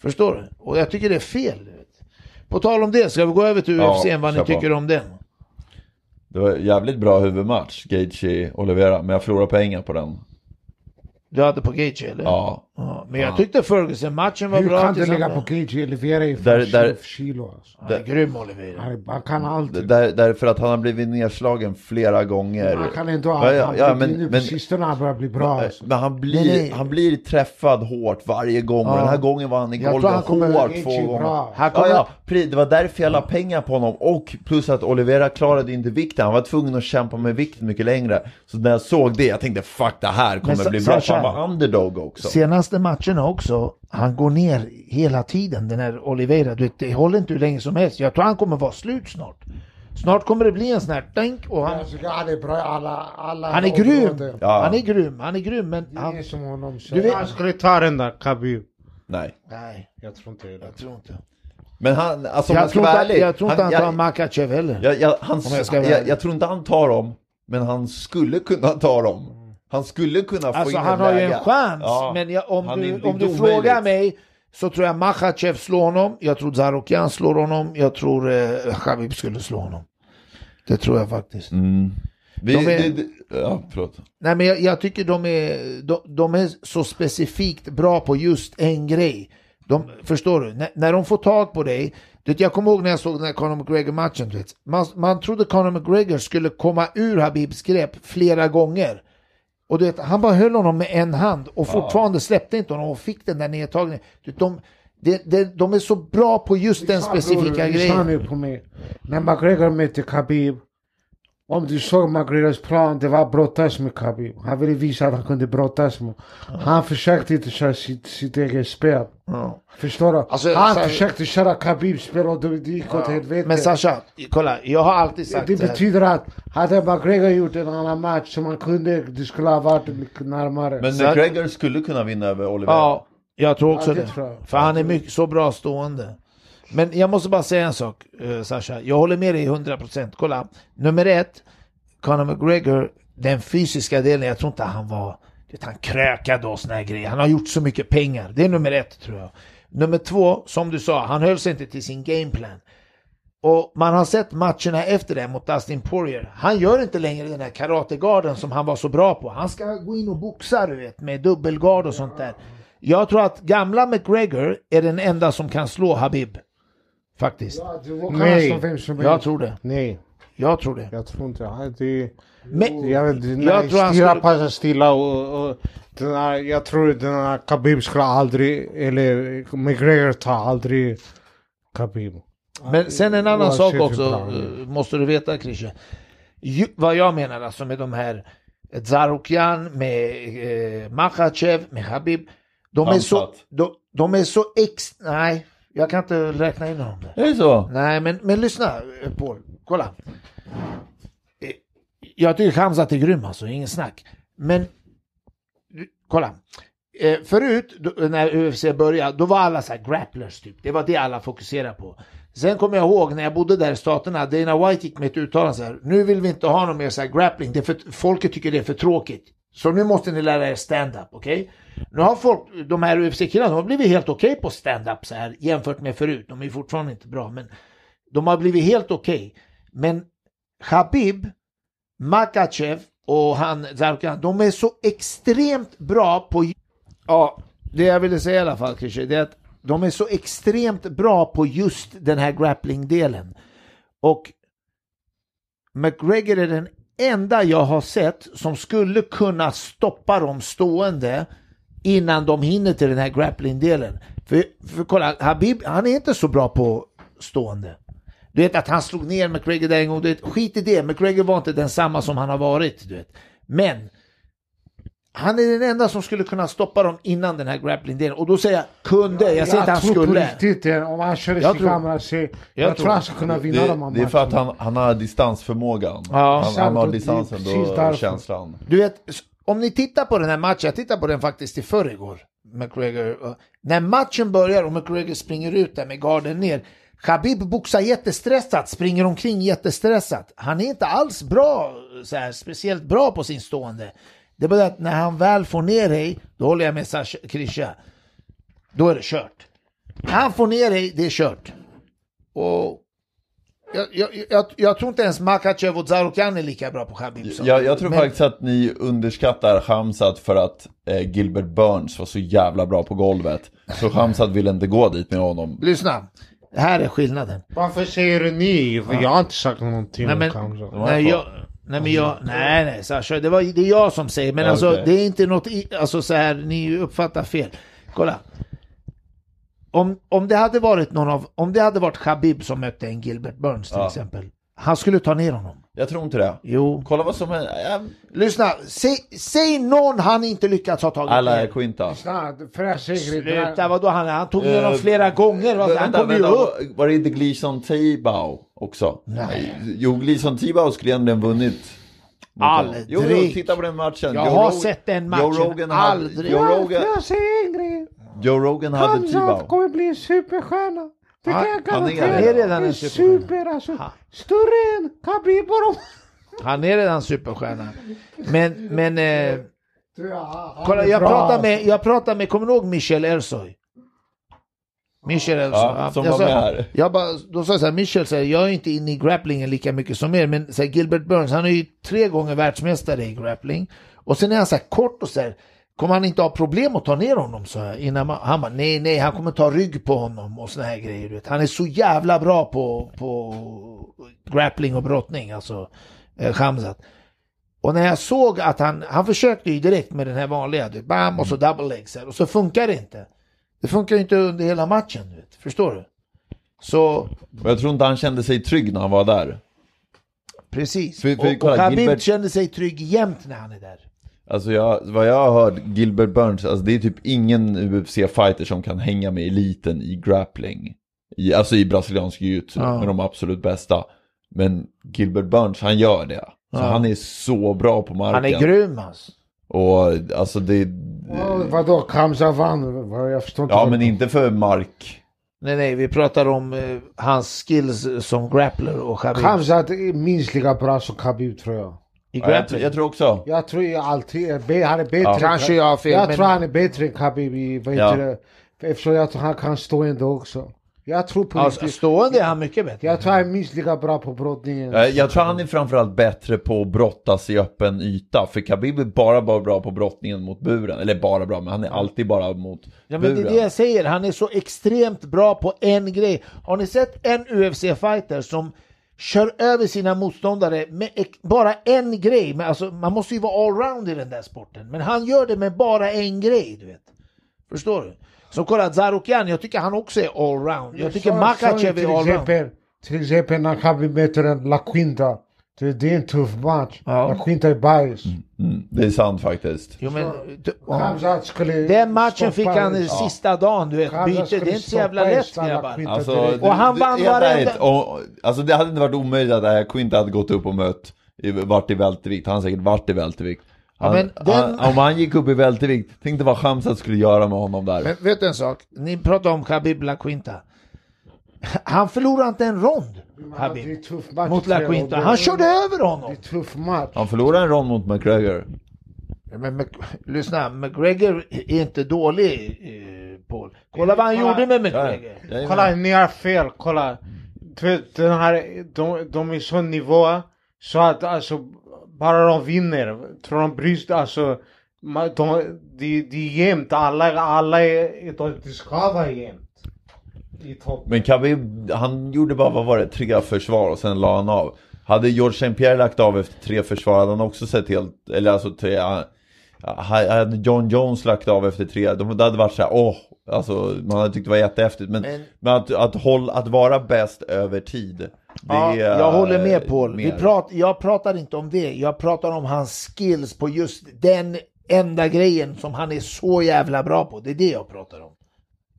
Speaker 1: Förstår du? Och jag tycker det är fel. Du vet. På tal om det, ska vi gå över till
Speaker 4: Ja,
Speaker 1: UFC, n, vad ni
Speaker 4: kör på.
Speaker 1: tycker om den?
Speaker 4: Det var jävligt bra huvudmatch, Gaethje Olivera, men jag förlorade pengar på den.
Speaker 1: Du hade på Gaethje eller?
Speaker 4: Ja.
Speaker 1: Ja, Men jag tyckte Ferguson-matchen var
Speaker 3: Hur
Speaker 1: bra.
Speaker 3: kan du
Speaker 1: tillsammans.
Speaker 3: lägga på Gigi Elvera i
Speaker 4: Där- där-
Speaker 3: fem kilo? Alltså.
Speaker 1: Han är grym Oliveira.
Speaker 3: Han, är- han kan
Speaker 4: D-
Speaker 3: alltid.
Speaker 4: Där, därför att han har blivit nedslagen flera gånger.
Speaker 3: Han kan ändå
Speaker 4: Ja, ja,
Speaker 3: han
Speaker 4: ja,
Speaker 3: blir-
Speaker 4: men-
Speaker 3: nu på
Speaker 4: men-
Speaker 3: sistone han börjar bli bra. Alltså.
Speaker 4: Eh, Men han
Speaker 1: Men
Speaker 4: blir,
Speaker 1: nej.
Speaker 4: han blir träffad hårt varje gång och den här gången var han i
Speaker 1: Jag tror
Speaker 4: golvet
Speaker 1: han
Speaker 3: kommer-
Speaker 4: hårt
Speaker 3: Gaethje
Speaker 4: två
Speaker 3: är
Speaker 4: gånger.
Speaker 3: bra.
Speaker 1: Han
Speaker 4: Ja,
Speaker 1: kommer-
Speaker 4: ja, pre- det var därför jag la pengar på honom och plus att Olivera klarade inte vikten. Han var tvungen att kämpa med vikten mycket längre. Så när jag såg det, jag tänkte fuck det här kommer
Speaker 1: så-
Speaker 4: bli
Speaker 1: så
Speaker 4: bra.
Speaker 1: här-
Speaker 4: För han var underdog också.
Speaker 1: Senaste matcherna också, han går ner hela tiden den här Oliveira. Du vet, det håller inte hur länge som helst. Jag tror han kommer vara slut snart. Snart kommer det bli en sån här tänk och han,
Speaker 3: Alltså, han är bra i alla, alla
Speaker 1: han är
Speaker 3: områden.
Speaker 1: grym. Han är grym, han är grym men
Speaker 3: Det är
Speaker 1: han...
Speaker 3: som honom. Så.
Speaker 1: Du vet-
Speaker 5: Han skulle ta den där Khabib.
Speaker 4: Nej.
Speaker 1: Nej,
Speaker 5: Jag tror inte det.
Speaker 1: jag tror inte.
Speaker 4: Men han, alltså om
Speaker 1: Jag
Speaker 4: jag ska
Speaker 1: tror
Speaker 4: vara
Speaker 1: inte,
Speaker 4: ärlig.
Speaker 1: jag tror inte han tar
Speaker 4: jag,
Speaker 1: Makachev heller.
Speaker 4: jag, jag, han,
Speaker 1: Om jag ska vara
Speaker 4: jag,
Speaker 1: ärlig.
Speaker 4: jag, tror inte han tar dem, men han skulle kunna ta dem. Han skulle kunna få
Speaker 1: Alltså
Speaker 4: in
Speaker 1: han
Speaker 4: ett
Speaker 1: har ju
Speaker 4: läge.
Speaker 1: en chans.
Speaker 4: Ja.
Speaker 1: Men jag, om,
Speaker 4: Han är
Speaker 1: du,
Speaker 4: inte-
Speaker 1: om du
Speaker 4: inte omöjligt.
Speaker 1: frågar mig så tror jag Makachev slår honom. Jag tror Zarokian slår honom. Jag tror eh, Khabib skulle slå honom. Det tror jag faktiskt.
Speaker 4: Mm. Vi,
Speaker 1: De är-
Speaker 4: det, det, ja, förlåt.
Speaker 1: Nej men jag, jag tycker de är, de, de är så specifikt bra på just en grej. De, förstår du? När, när de får tag på dig. Du vet, jag kommer ihåg när jag såg den här Conor McGregor-matchen. Du vet. Man, man trodde Conor McGregor skulle komma ur Habibs grepp flera gånger. Och du vet, han bara höll honom med en hand och fortfarande släppte inte honom och fick den där nedtagningen. Du vet, de, de, de, de är så bra på just den specifika
Speaker 3: Lyssna
Speaker 1: grejen.
Speaker 3: nu på mig. När McGregor mötte Khabib. Om du såg McGregors plan, det var att brottas med Khabib. Han ville visa att han kunde brottas med Han försökte inte köra sitt, sitt eget spel.
Speaker 1: Ja.
Speaker 3: Förstår du?
Speaker 1: Alltså,
Speaker 3: han
Speaker 1: så här-
Speaker 3: försökte köra Khabibs spel och det det gick åt helvete.
Speaker 1: Men Sasha, kolla, jag har alltid sagt
Speaker 3: det
Speaker 1: så här.
Speaker 3: betyder att hade McGregor gjort en annan match som han kunde, det skulle ha varit mycket närmare.
Speaker 4: Men
Speaker 1: Så att-
Speaker 4: McGregor skulle kunna vinna över Oliver.
Speaker 1: Ja, jag tror också
Speaker 3: Ja,
Speaker 1: det.
Speaker 3: det tror jag.
Speaker 1: För han är mycket, så bra stående. Men jag måste bara säga en sak, eh, Sasha. Jag håller med dig 100%. Kolla, nummer ett, Conor McGregor, den fysiska delen, jag tror inte han var... du Vet, han krökade och såna här grejer. Han har gjort så mycket pengar. Det är nummer ett, tror jag. Nummer två, som du sa, han höll sig inte till sin gameplan. Och man har sett matcherna efter det mot Dustin Poirier. Han gör inte längre den här karategarden som han var så bra på. Han ska gå in och boxa du vet, med dubbelgard och sånt där. Jag tror att gamla McGregor är den enda som kan slå Habib. Faktiskt.
Speaker 3: Ja, du vågar
Speaker 5: Nej.
Speaker 3: slå vem som
Speaker 1: Jag
Speaker 3: helst.
Speaker 1: tror det.
Speaker 5: Nej,
Speaker 1: Jag tror det.
Speaker 5: jag tror inte. Han- Det,
Speaker 1: Men,
Speaker 5: jag vet inte.
Speaker 1: Jag
Speaker 5: nej,
Speaker 1: tror han
Speaker 5: Stilla
Speaker 1: skulle-
Speaker 5: passar stilla och... och den här, jag tror den här Khabib skulle aldrig... Eller McGregor tar aldrig Khabib.
Speaker 1: men sen en annan
Speaker 5: Oavsett
Speaker 1: sak
Speaker 5: hur
Speaker 1: också,
Speaker 5: bra han är.
Speaker 1: eh, måste du veta Christian. Ju, vad jag menar alltså med de här Zarukian, med eh, Makhachev, med Habib. De är, så,
Speaker 4: Hamzat.
Speaker 1: de, de är så ex... Nej, jag kan inte räkna in honom där.
Speaker 4: Är det så?
Speaker 1: Nej, men, men lyssna eh, Paul. Kolla. Eh, Jag tycker Hamzat är grym alltså, ingen snack. Men du, kolla. Eh, förut, då, när UFC började, då var alla så här grapplers typ. Det var det alla fokuserade på. Sen kommer jag ihåg när jag bodde där i Staterna, Dana White gick med ett uttalande så här. Nu vill vi inte ha någon mer så här grappling, det är för, folket tycker det är för tråkigt. Så nu måste ni lära er stand-up, okej? Nu har folk, de här UFC-killarna, de har blivit helt okej på stand-up så här jämfört med förut. De är fortfarande inte bra, men de har blivit helt okej. Men Habib, Makachev och han Zarkan, de är så extremt bra på... Ja, det jag ville säga i alla fall Christer, det är att de är så extremt bra på just den här grappling-delen. Och McGregor är den enda jag har sett som skulle kunna stoppa dem stående innan de hinner till den här grappling-delen. För, för kolla, Habib, han är inte så bra på stående. Du vet att han slog ner McGregor där en gång, du vet, skit i det, McGregor var inte densamma som han har varit, du vet. Men Han är den enda som skulle kunna stoppa dem innan den här grappling-delen. Och då säger jag kunde, jag säger inte han
Speaker 3: tror på
Speaker 1: skulle.
Speaker 3: riktigt eh, om han kör i
Speaker 1: Jag
Speaker 3: sin
Speaker 1: tror-
Speaker 3: kamera sig. Jag,
Speaker 1: jag
Speaker 3: tror
Speaker 1: tror-
Speaker 3: han ska kunna vinna de här
Speaker 4: Det, det är
Speaker 3: matcherna.
Speaker 4: för att han, han har distansförmågan.
Speaker 1: Ja,
Speaker 4: han, han har
Speaker 3: sant, och det är
Speaker 4: distansen
Speaker 3: precis
Speaker 4: då
Speaker 3: därför.
Speaker 4: känslan.
Speaker 1: Du vet, s- om ni tittar på den här matchen, jag tittade på den faktiskt i förrgår, McGregor. och- När matchen börjar och McGregor springer ut där med garden ner, Khabib boxar jättestressat, springer omkring jättestressat. Han är inte alls bra, så här, speciellt bra på sin stående. Det är bara att när han väl får ner dig, då håller jag med Sasha, Krisha, då är det kört. När han får ner dig, det är kört. Och jag, jag, jag, jag tror inte ens Makachev och Zarokhan är lika bra på Khabib som-
Speaker 4: Jag, jag tror
Speaker 1: Men-
Speaker 4: faktiskt att ni underskattar Hamzat för att eh, Gilbert Burns var så jävla bra på golvet. Så Hamzat ville inte gå dit med honom.
Speaker 1: Lyssna, här är skillnaden.
Speaker 5: Varför säger du ni? Jag har inte sagt någonting
Speaker 1: Nej
Speaker 5: om
Speaker 1: men,
Speaker 5: Kamsa.
Speaker 1: nej, jag, nej men jag, nej nej Sasha, det, var, det är jag som säger, men
Speaker 4: Ja,
Speaker 1: alltså
Speaker 4: okej.
Speaker 1: det är inte något, i- alltså så här, ni uppfattar fel. Kolla. Om, om det hade varit någon av, om det hade varit Khabib som mötte en Gilbert Burns till
Speaker 4: Ja.
Speaker 1: exempel. Han skulle ta ner honom.
Speaker 4: Jag tror inte det.
Speaker 1: Jo.
Speaker 4: Kolla vad som är... eh,
Speaker 1: Lyssna, säg, säg någon han inte lyckats ha tagit
Speaker 4: Alla är
Speaker 1: ner.
Speaker 4: Quinta.
Speaker 3: Snart, för jag säger inte-
Speaker 1: Sluta, vadå han, han tog ner
Speaker 4: Eh,
Speaker 1: honom flera gånger. va? Han
Speaker 4: Vänta,
Speaker 1: kom ju
Speaker 4: vänta,
Speaker 1: upp.
Speaker 4: Var det inte Gleason Tibau också?
Speaker 1: Nej.
Speaker 4: Jo, Gleason Tibau skulle egentligen vunnit. mot honom.
Speaker 1: Aldrig.
Speaker 4: Jo, jo, titta på den matchen.
Speaker 1: Jag
Speaker 4: Joe
Speaker 1: har
Speaker 4: Rog-
Speaker 1: sett den
Speaker 4: Joe
Speaker 1: matchen.
Speaker 4: Rogan hade-
Speaker 1: Aldrig.
Speaker 4: Joe Rogan,
Speaker 3: Jag säger en grej.
Speaker 4: Joe Rogan hade
Speaker 3: Hamzat
Speaker 4: Tibau.
Speaker 3: kommer bli en superstjärna. Det kan
Speaker 1: Han-
Speaker 3: jag
Speaker 4: han är
Speaker 3: garantera.
Speaker 4: redan- han är
Speaker 1: redan en
Speaker 3: en
Speaker 1: superstjärna.
Speaker 3: super alltså.
Speaker 1: Ha.
Speaker 3: Större än Khabib och de-
Speaker 1: Han är redan superstjärna. Men, men eh,
Speaker 3: Ja,
Speaker 1: Kolla,
Speaker 3: han är
Speaker 1: jag
Speaker 3: bra,
Speaker 1: pratar
Speaker 3: alltså.
Speaker 1: med, jag pratar med, kommer du ihåg Michel Ersoy? Michel Ersoy.
Speaker 4: Ja, som
Speaker 1: jag
Speaker 4: var
Speaker 1: sa,
Speaker 4: med här.
Speaker 1: Jag bara, då sa jag så här, Michel, så här, jag är inte inne i grapplingen lika mycket som er, men så här, Gilbert Burns, han är ju tre gånger världsmästare i grappling. Och sen är han så här kort och så här, kommer han inte ha problem att ta ner honom? Så här, innan man, han bara, nej, nej, han kommer ta rygg på honom och såna här grejer. Du vet. Han är så jävla bra på, på grappling och brottning, alltså, eh, Hamzat. Och när jag såg att han, han försökte ju direkt med den här vanliga, du, bam och så double legs här, och så funkar det inte. Det funkar ju inte under hela matchen, du vet. förstår du? Så,
Speaker 4: Och jag tror inte han kände sig trygg när han var där.
Speaker 1: precis.
Speaker 4: För- för
Speaker 1: och och
Speaker 4: kolla,
Speaker 1: Khabib
Speaker 4: Gilbert-
Speaker 1: kände sig trygg jämt när han är där.
Speaker 4: Alltså jag, vad jag har hört, Gilbert Burns, alltså det är typ ingen UFC-fighter som kan hänga med eliten i grappling. I, alltså i brasiliansk jiu-jitsu,
Speaker 1: Ja.
Speaker 4: med de absolut bästa. Men Gilbert Burns, han gör det.
Speaker 1: Ja.
Speaker 4: Så han är så bra på marken.
Speaker 1: Han är grym alltså.
Speaker 4: Och alltså det...
Speaker 3: Ja, Vadå, Kamsa vann? Vad- Jag förstår inte.
Speaker 4: Ja
Speaker 3: vad-
Speaker 4: men inte för mark.
Speaker 1: Nej, nej, vi pratar om eh, hans skills som grappler och Khabib.
Speaker 3: Kamsat är minst lika bra som Khabib tror jag.
Speaker 1: I
Speaker 4: Ja, jag, tr-
Speaker 1: grappling.
Speaker 4: jag tror också.
Speaker 3: Jag tror jag alltid är bättre. Han är bättre. än
Speaker 1: Kanske
Speaker 3: Kha-
Speaker 1: jag har fel,
Speaker 3: Jag
Speaker 1: men-
Speaker 3: tror han är bättre än Khabib i, vad
Speaker 4: Ja.
Speaker 3: heter det? Eftersom jag tror han kan stå ändå också. Jag tror på
Speaker 1: alltså,
Speaker 3: riktigt.
Speaker 1: stående är han mycket bättre.
Speaker 3: Jag tror han är minst lika bra på brottningen.
Speaker 4: Eh, Jag tror han är framförallt bättre på att brottas i öppen yta. För Khabib är bara, bara bra på brottningen mot buren. Eller bara bra, men han är alltid bara mot
Speaker 1: Ja, men
Speaker 4: buren.
Speaker 1: det är det jag säger, han är så extremt bra på en grej. Har ni sett en UFC-fighter som kör över sina motståndare med ex- bara en grej? Men alltså, man måste ju vara allround i den där sporten, men han gör det med bara en grej. du vet. Förstår du? Så kolla, Zarukyan, jag tycker han också är allround. Jag tycker
Speaker 3: Så- så
Speaker 1: Makachev
Speaker 3: till
Speaker 1: är allround.
Speaker 3: exempel- Till exempel när Khabib möter en La Quinta. Det det är en tuff match.
Speaker 1: Ja.
Speaker 3: La Quinta är bajs.
Speaker 4: Mm, det är sant faktiskt.
Speaker 1: Jo, men, du-
Speaker 3: Ah.
Speaker 1: ja.
Speaker 3: Kamsat skulle
Speaker 1: Den matchen fick
Speaker 3: stoppa-
Speaker 1: han i sista dagen, du vet.
Speaker 3: Kamsat
Speaker 1: Byte, det
Speaker 3: skulle
Speaker 1: är inte så jävla
Speaker 3: stoppa i
Speaker 1: lätt
Speaker 3: Stan La
Speaker 1: grabbar.
Speaker 3: Quinta
Speaker 4: Alltså,
Speaker 3: direkt.
Speaker 1: Och han vann
Speaker 4: helt
Speaker 1: varenda-
Speaker 4: ärligt, och- Alltså det hade inte varit omöjligt att det här Quinta hade gått upp och mött i- vart i vältervikt. Han har säkert varit i vältervikt. Han,
Speaker 1: Ja, men den-
Speaker 4: han, om han gick upp i vältervikt, tänk dig vad Khamzat skulle göra med honom där.
Speaker 1: Men vet du en sak? Ni pratar om Khabib La Quinta. Han förlorade inte en rond,
Speaker 3: Ja, det är
Speaker 1: Khabib,
Speaker 3: en tuff match.
Speaker 1: mot La Quinta. Han körde över
Speaker 3: Det är
Speaker 1: honom.
Speaker 3: en tuff match.
Speaker 4: Han förlorade en rond mot McGregor.
Speaker 1: Men Mc- lyssna, McGregor är inte dålig, eh, Paul. Kolla vad han
Speaker 5: Kolla.
Speaker 1: gjorde med
Speaker 4: Ja,
Speaker 1: McGregor.
Speaker 4: ja,
Speaker 5: Kolla, ni har fel. Kolla. Du vet, den här, de, de är sån nivå så att alltså, bara de vinner. Tror de bryr sig, alltså. ma- De, de, de är jämnt. Alla, alla är, de, de ska vara jämnt. I topp.
Speaker 4: Men Khabib, han gjorde bara, vad var det, tre försvar och sen la han av. Hade George St. Pierre lagt av efter tre försvar hade han också sett helt, eller alltså tre, ja, hade John Jones lagt av efter tre, de, det hade varit såhär, åh, alltså man hade tyckt det var jättehäftigt. Men, men,
Speaker 1: Men-
Speaker 4: att, att, hålla, att vara bäst över tid, det
Speaker 1: Ja,
Speaker 4: är,
Speaker 1: jag håller med Paul. Vi
Speaker 4: mer.
Speaker 1: prat, jag pratar inte om det. Jag pratar om hans skills på just den enda grejen som han är så jävla bra på. Det är det jag pratar om.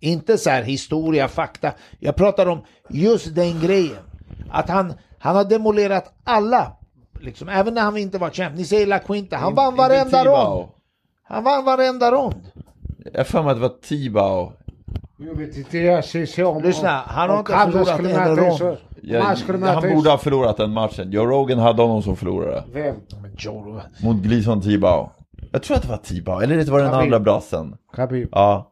Speaker 1: Inte så här historia, fakta. Jag pratar om just den grejen. Att han, han har demolerat alla. Liksom, även när han inte var champ. Ni säger La Quinta, han vann varenda rond. Han vann varenda rond.
Speaker 4: Jag har för mig att det var Tibau.
Speaker 3: Jag vet inte, jag ser sig om.
Speaker 1: Lyssna,
Speaker 3: om-
Speaker 1: han har
Speaker 3: om
Speaker 1: inte
Speaker 3: Carlos
Speaker 1: förlorat
Speaker 3: skulle
Speaker 1: en
Speaker 3: möta
Speaker 1: rond.
Speaker 3: Israel.
Speaker 4: Jag,
Speaker 3: Man skulle möta
Speaker 4: han borde ha förlorat den matchen. Joe Rogan hade honom som förlorare.
Speaker 3: Vem?
Speaker 1: Men Joe,
Speaker 4: Mot Gleason Tibau. Jag tror att det var Tibau, eller det var den
Speaker 3: Khabib.
Speaker 4: andra brassen.
Speaker 3: Khabib.
Speaker 4: Ja.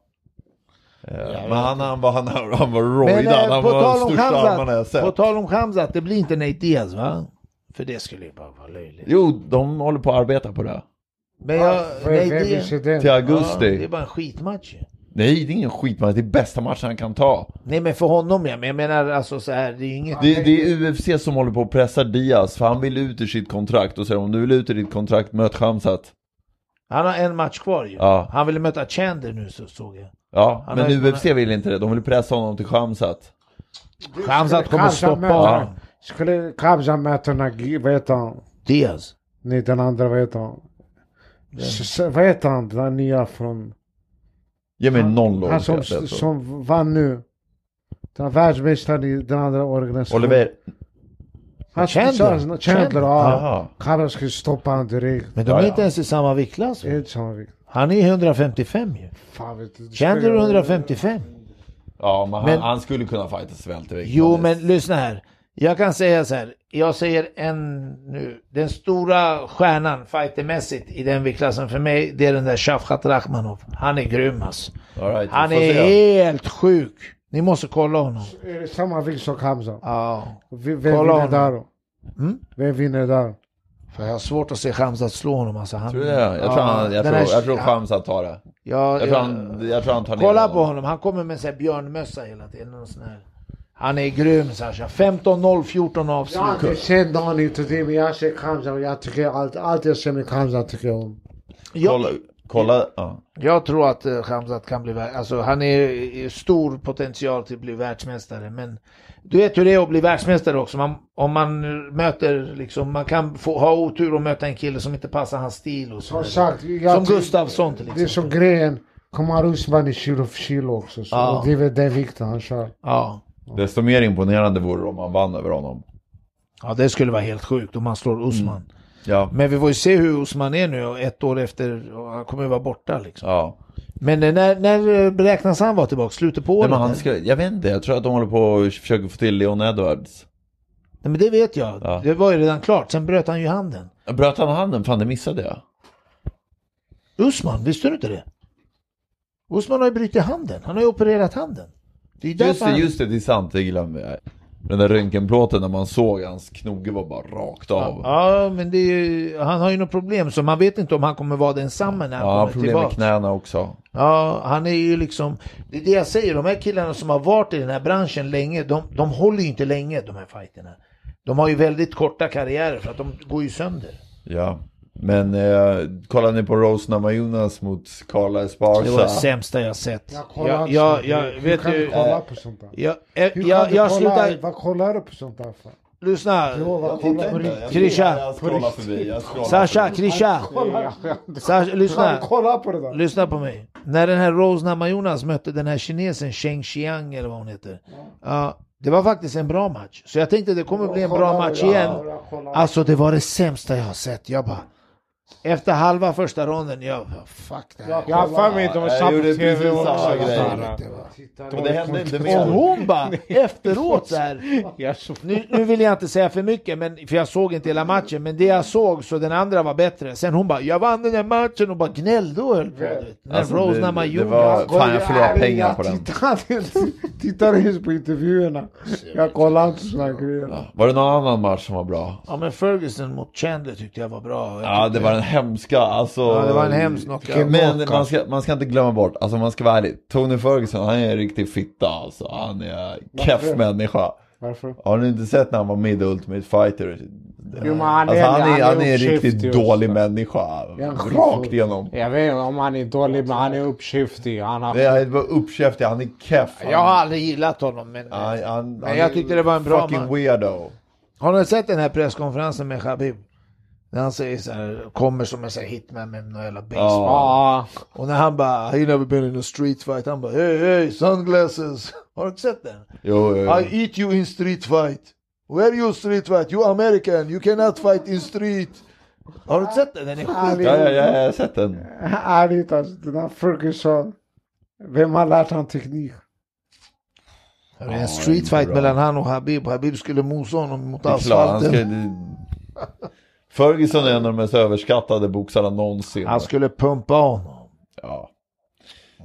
Speaker 4: Eh, Men han, han var, han, han var
Speaker 1: Men
Speaker 4: rojdad,
Speaker 1: eh,
Speaker 4: han
Speaker 1: på,
Speaker 4: var
Speaker 1: tal
Speaker 4: den
Speaker 1: om
Speaker 4: största armarna jag
Speaker 1: Hamzat, på
Speaker 4: sett.
Speaker 1: tal om Hamzat, det blir inte Nate Diaz va? För det skulle ju bara vara löjligt.
Speaker 4: Jo, de håller på att arbeta på det.
Speaker 1: Men jag,
Speaker 3: Vem
Speaker 1: Nate
Speaker 3: vem
Speaker 1: Diaz,
Speaker 3: visste den?
Speaker 4: Till
Speaker 1: ja, det
Speaker 4: augusti.
Speaker 1: är bara en skitmatch ju.
Speaker 4: Nej, det är ingen skitmatch. Det är bästa matchen han kan ta.
Speaker 1: Nej men för honom ja, men jag menar alltså så här, det är ju inget...
Speaker 4: Det, det är UFC som håller på att pressa Diaz, för han vill ut ur sitt kontrakt. Och säger om du vill ut ur ditt kontrakt, möt Khamzat.
Speaker 1: Han har en match kvar ju.
Speaker 4: Ja.
Speaker 1: Han ville möta Chander nu så såg jag.
Speaker 4: Ja,
Speaker 1: Han har
Speaker 4: men
Speaker 1: ju-
Speaker 4: UFC vill inte det. De vill pressa honom till Khamzat.
Speaker 1: Hamzat kommer
Speaker 3: Khamzat
Speaker 1: stoppa
Speaker 3: möter-
Speaker 1: honom.
Speaker 3: Skulle Khamzat möta Nagi, vad heter han?
Speaker 1: Diaz.
Speaker 3: Nej, den então. andra, então. vad heter han? S- s- Vad heter han, den nya från...
Speaker 4: Ge mig någon
Speaker 3: Han
Speaker 4: låt.
Speaker 3: som, som vann nu. Den världsmästaren i den andra organisationen.
Speaker 4: Oliver.
Speaker 3: Han
Speaker 1: Chandler.
Speaker 3: Chandler. Chandler,
Speaker 1: Chandler.
Speaker 3: ja.
Speaker 4: Jaha.
Speaker 3: Khamzat skulle stoppa honom direkt.
Speaker 1: Men de
Speaker 4: Ja,
Speaker 1: är
Speaker 4: ja.
Speaker 1: inte ens i samma viktklass.
Speaker 3: Det är inte samma vikt.
Speaker 1: Han är 155 ju.
Speaker 3: Fan vet du.
Speaker 1: Chander är 155.
Speaker 4: Ja, men han,
Speaker 1: Men-
Speaker 4: han skulle kunna fighta svältervikt.
Speaker 1: Jo, men lyssna här. Jag kan säga så här. Jag säger en nu. Den stora stjärnan fightermässigt i den viktklassen för mig, det är den där Shafkat Rachmanov. Han är grym alltså.
Speaker 4: All right, vi
Speaker 1: Han
Speaker 4: får
Speaker 1: är
Speaker 4: se.
Speaker 1: helt sjuk. Ni måste kolla honom.
Speaker 3: Är det samma vikt som Khamzat?
Speaker 1: Ja.
Speaker 3: Vi- Vem
Speaker 1: Kolla
Speaker 3: vinner
Speaker 1: honom.
Speaker 3: där då?
Speaker 1: Mm?
Speaker 3: Vem vinner där?
Speaker 1: För jag har svårt att se Khamzat slå honom alltså. Han,
Speaker 4: Tror du det? Jag tror,
Speaker 1: Ja,
Speaker 4: han, jag
Speaker 1: den
Speaker 4: tror,
Speaker 1: här-
Speaker 4: jag tror Khamzat tar det.
Speaker 1: Ja,
Speaker 4: Jag tror
Speaker 1: ja.
Speaker 4: han, jag tror han tar ner
Speaker 1: Kolla på honom, han kommer med en björnmössa hela tiden. Och sån här. Han är grym Sasha. 15-0, 14
Speaker 3: Jag har
Speaker 1: avslut.
Speaker 3: inte sett någon ut och det, men jag ser Khamzat och jag tycker allt, allt jag ser med Khamzat tycker jag om.
Speaker 1: Jag,
Speaker 4: Kolla, kolla. Ja.
Speaker 1: jag tror att eh, Khamzat kan bli världsmästare. Alltså, han är är stor potential till att bli världsmästare. Men du vet hur det är att bli världsmästare också. Man, om man eh, möter, liksom, man kan få, ha otur och möta en kille som inte passar hans stil. Och
Speaker 3: Som
Speaker 1: så där.
Speaker 3: sagt, jag
Speaker 1: som
Speaker 3: tycker-
Speaker 1: Gustafsson till
Speaker 3: Det är
Speaker 1: exempel.
Speaker 3: som grejen, Kamar Usman är kilo för kilo också. Så
Speaker 1: Ja.
Speaker 3: och Det är väl den vikten han kör.
Speaker 1: Ja.
Speaker 4: Desto mer imponerande vore det om han vann över honom.
Speaker 1: ja, det skulle vara helt sjukt om man slår Usman.
Speaker 4: Mm. Ja.
Speaker 1: Men vi får ju se hur Osman är nu och ett år efter, och han kommer ju vara borta liksom.
Speaker 4: ja.
Speaker 1: Men eh, när, när eh, beräknas han vara tillbaka? Slutet på
Speaker 4: Nej,
Speaker 1: året?
Speaker 4: men han
Speaker 1: eller?
Speaker 4: ska, jag vet inte, jag tror att de håller på och försöker få till Leon Edwards.
Speaker 1: Nej, men det vet jag.
Speaker 4: Ja.
Speaker 1: Det var ju redan klart. Sen bröt han ju handen.
Speaker 4: Bröt han handen? Fan, det missade jag.
Speaker 1: Usman, visste du inte det? Usman har ju brutit handen. Han har ju opererat handen. Det är
Speaker 4: Just
Speaker 1: därför
Speaker 4: det,
Speaker 1: han-
Speaker 4: just det, det är sant, det glömde jag. Den där röntgenplåten när man såg hans knoge var bara rakt av. Ja,
Speaker 1: Ja, men det är ju, han har ju något problem så man vet inte om han kommer vara densamme när han
Speaker 4: han har
Speaker 1: kommer
Speaker 4: problem med
Speaker 1: tillbaka.
Speaker 4: knäna också.
Speaker 1: Ja, han är ju liksom, det är det jag säger, de här killarna som har varit i den här branschen länge, de, de håller ju inte länge de här fighterna. De har ju väldigt korta karriärer för att de går ju sönder.
Speaker 4: Ja. Men eh, kollade ni på Rose Namajunas mot Carla
Speaker 1: Det var det
Speaker 4: Esparza?
Speaker 1: sämsta jag sett.
Speaker 3: Jag kollar
Speaker 1: Jag,
Speaker 3: inte
Speaker 1: jag,
Speaker 3: sånt.
Speaker 1: jag
Speaker 3: Hur
Speaker 1: vet
Speaker 3: kan alltså. du
Speaker 1: ju...
Speaker 3: kolla på sånt där?
Speaker 1: Jag, jag,
Speaker 3: Hur kan
Speaker 1: eh, jag,
Speaker 3: du
Speaker 1: jag
Speaker 3: kolla-
Speaker 1: slutar...
Speaker 3: Vad kollar du på sånt där för?
Speaker 1: Lyssna.
Speaker 3: Jo, vad kollar du på?
Speaker 1: Krisha.
Speaker 4: scrollar förbi, jag scrollar
Speaker 1: Sasha,
Speaker 4: förbi.
Speaker 1: Krisha.
Speaker 3: Kolla-
Speaker 1: Sasha,
Speaker 3: Kolla
Speaker 1: lyssna.
Speaker 3: kolla på det där.
Speaker 1: Lyssna på mig. När den här Rose Namajunas mötte den här kinesen Cheng Xiang eller vad hon heter. Ja, det var faktiskt en bra match. Så jag tänkte det kommer bli en bra match igen. Alltså det var det sämsta jag har sett. Jag bara... Efter halva första ronden, jag bara, fuck det här.
Speaker 5: Jag har för mig att de
Speaker 4: Ja, jag
Speaker 5: satt på
Speaker 4: gjorde
Speaker 5: tv
Speaker 4: precis
Speaker 5: också.
Speaker 4: samma grej.
Speaker 5: Sara.
Speaker 4: Men det hände inte
Speaker 1: Och
Speaker 4: mer.
Speaker 1: hon bara efteråt så här.
Speaker 5: Jag såg
Speaker 1: Nu, nu vill jag inte säga för mycket, men, för jag såg inte hela matchen. Men det jag såg så den andra var bättre. Sen hon bara, jag vann den där matchen och bara gnällde och höll på. du vet. Den
Speaker 4: Alltså,
Speaker 1: här Rose
Speaker 4: det-
Speaker 1: Namajunas.
Speaker 4: det var- Fan, jag förlorar pengar på den.
Speaker 3: Tittar, tittar ens på intervjuerna. Jag kollar inte såna grejer.
Speaker 4: Var det någon annan match som var bra?
Speaker 1: Ja men Ferguson mot Chandler tyckte jag var bra. Jag
Speaker 4: Ja,
Speaker 1: tyckte-
Speaker 4: det var en hemska, alltså.
Speaker 1: ja, det var en hemsk knockout.
Speaker 4: Men man ska, man ska inte glömma bort, alltså man ska vara ärlig. Tony Ferguson, han är en riktig fitta alltså. Han är keff människa.
Speaker 3: Varför?
Speaker 4: Har ni inte sett när han var med i Ultimate Fighter?
Speaker 5: Jo, men han
Speaker 4: Alltså
Speaker 5: är,
Speaker 4: han är, han är en
Speaker 5: uppkäftig
Speaker 4: riktigt
Speaker 5: också.
Speaker 4: dålig människa.
Speaker 3: en skitfull.
Speaker 4: Rakt igenom.
Speaker 5: Jag vet inte om han är dålig, men han är uppkäftig. Han har...
Speaker 4: Det är bara uppkäftig, han är keff. Han,
Speaker 1: Jag har aldrig gillat honom men... eh,
Speaker 4: han, han,
Speaker 1: Men
Speaker 4: han
Speaker 1: jag
Speaker 4: är
Speaker 1: tyckte det var en bra
Speaker 4: Fucking
Speaker 1: match.
Speaker 4: weirdo.
Speaker 1: Har ni sett den här presskonferensen med Khabib? När han säger så här, kommer som en sån här hitman med någon jävla baseball.
Speaker 5: Ja.
Speaker 1: Och när han bara, he never been in a street fight, han bara, hey hey sunglasses. Har du inte sett den?
Speaker 4: Jo, jo, jo.
Speaker 1: I eat you in street fight. Where you street fight? You American, you cannot fight in street. Har du inte sett den? Den är skit.
Speaker 4: Ja, ja, ja, jag har sett den.
Speaker 3: Ärligt alltså, den här Ferguson. Vem har lärt han teknik?
Speaker 1: Det är
Speaker 4: Ja,
Speaker 1: en street
Speaker 4: den är
Speaker 1: fight
Speaker 4: bra.
Speaker 1: mellan han och Habib. Habib skulle mosa honom mot
Speaker 4: Det är klart, han
Speaker 1: asfalten.
Speaker 4: ska... Ferguson är en av de mest överskattade boxarna någonsin.
Speaker 1: Han skulle pumpa honom.
Speaker 4: Ja.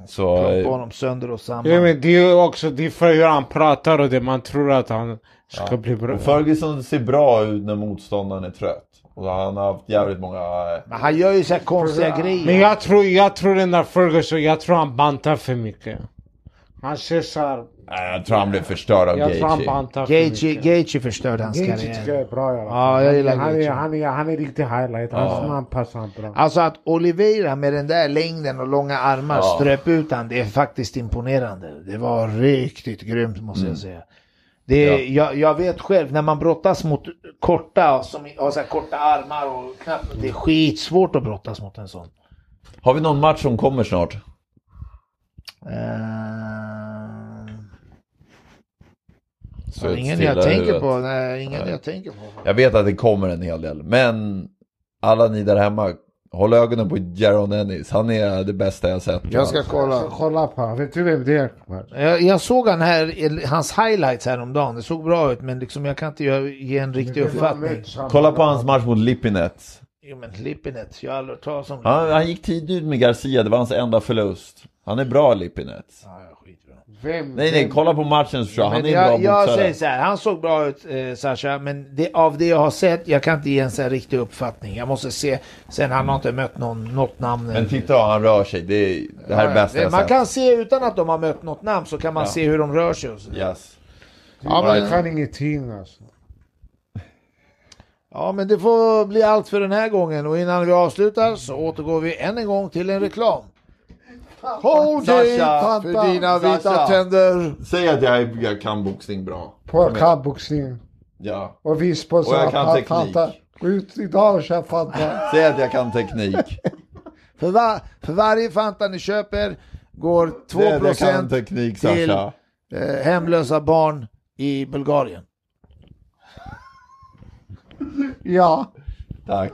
Speaker 4: Så...
Speaker 1: Pumpa
Speaker 4: eh,
Speaker 1: honom sönder och samman.
Speaker 5: Ja, men det är ju också det är för hur han pratar och det man tror att han ska bli bra.
Speaker 4: eh, och Ferguson ser bra ut när motståndaren är trött. Och han har haft jävligt många... eh,
Speaker 1: Men han gör ju så här konstiga grejer.
Speaker 5: Men jag tror, jag tror den där Ferguson, jag tror han bantar för mycket. Han ser såhär,
Speaker 4: Nej, jag tror han blev förstörd av
Speaker 5: jag tror han
Speaker 4: Gaethje.
Speaker 5: bantar för
Speaker 1: Gaethje,
Speaker 5: mycket.
Speaker 1: Gaethje förstörde hans
Speaker 3: Gage tycker jag
Speaker 1: karriär.
Speaker 3: är bra i alla fall.
Speaker 1: Ja, jag gillar
Speaker 3: han, är,
Speaker 1: Gaethje.
Speaker 3: han, är, han är riktig highlight. Han, han passar han bra.
Speaker 1: Alltså att Oliveira med den där längden och långa armar
Speaker 4: Ja.
Speaker 1: ströp ut han, det är faktiskt imponerande. Det var riktigt grymt måste jag säga. Det, jag, jag vet själv, när man brottas mot korta, som har så här korta armar och knappt, det är skitsvårt att brottas mot en sån.
Speaker 4: Har vi någon match som kommer snart?
Speaker 1: Eh,
Speaker 4: Så ett
Speaker 1: ingen
Speaker 4: stilla
Speaker 1: jag tänker
Speaker 4: huvudet.
Speaker 1: på. Nej, ingen jag tänker på.
Speaker 4: Jag vet att det kommer en hel del, men alla ni där hemma, håll ögonen på Jaron Ennis. Han är det bästa jag sett.
Speaker 1: Jag ska
Speaker 3: Jag
Speaker 1: kolla.
Speaker 3: ska kolla på honom. Vet du vem det är? Akbar?
Speaker 1: Jag, jag såg han här, hans highlights häromdagen. Det såg bra ut men liksom jag kan inte göra- ge en riktig uppfattning.
Speaker 4: Kolla på hans match mot Lipinet.
Speaker 1: Jo men Lipinet, jag har aldrig hört talas om
Speaker 4: Han, han gick tidigt ut med Garcia, det var hans enda förlust. Han är bra Lipinet.
Speaker 1: Ja, ja, skitbra.
Speaker 3: Vem?
Speaker 4: Nej, nej, kolla på matchen så tror jag. Han är
Speaker 1: Men jag,
Speaker 4: en bra
Speaker 1: jag säger
Speaker 4: boxare.
Speaker 1: så här, han såg bra ut eh, Sasha, men det, av det jag har sett, jag kan inte ge en så här riktig uppfattning. Jag måste se, sen han har inte mött någon, något namn.
Speaker 4: Men titta hur han rör sig. Det, är, det här är det bästa jag
Speaker 1: Man
Speaker 4: sett.
Speaker 1: kan se utan att de har mött något namn så kan man se hur de rör sig och så.
Speaker 4: Yes.
Speaker 3: Ja,
Speaker 4: men-
Speaker 3: men han kan ingenting alltså.
Speaker 1: Ja men det får bli allt för den här gången och innan vi avslutar så återgår vi än en gång till en reklam. Håll dig
Speaker 4: Sasha,
Speaker 1: för dina
Speaker 4: Sasha.
Speaker 1: vita tänder!
Speaker 4: Säg att jag, jag kan boxning bra.
Speaker 3: På kampboxning.
Speaker 4: Ja.
Speaker 3: Och vi
Speaker 4: Och
Speaker 3: sponsrar
Speaker 4: jag kan
Speaker 3: Fan-
Speaker 4: teknik.
Speaker 3: Fanta. Gå ut idag och kör Fanta.
Speaker 4: Säg att jag kan teknik.
Speaker 1: För, va, för varje Fanta ni köper går
Speaker 4: Säg att jag kan
Speaker 1: 2%
Speaker 4: teknik,
Speaker 1: till-
Speaker 4: Sasha.
Speaker 1: eh, hemlösa barn i Bulgarien.
Speaker 3: Ja.
Speaker 4: Tack.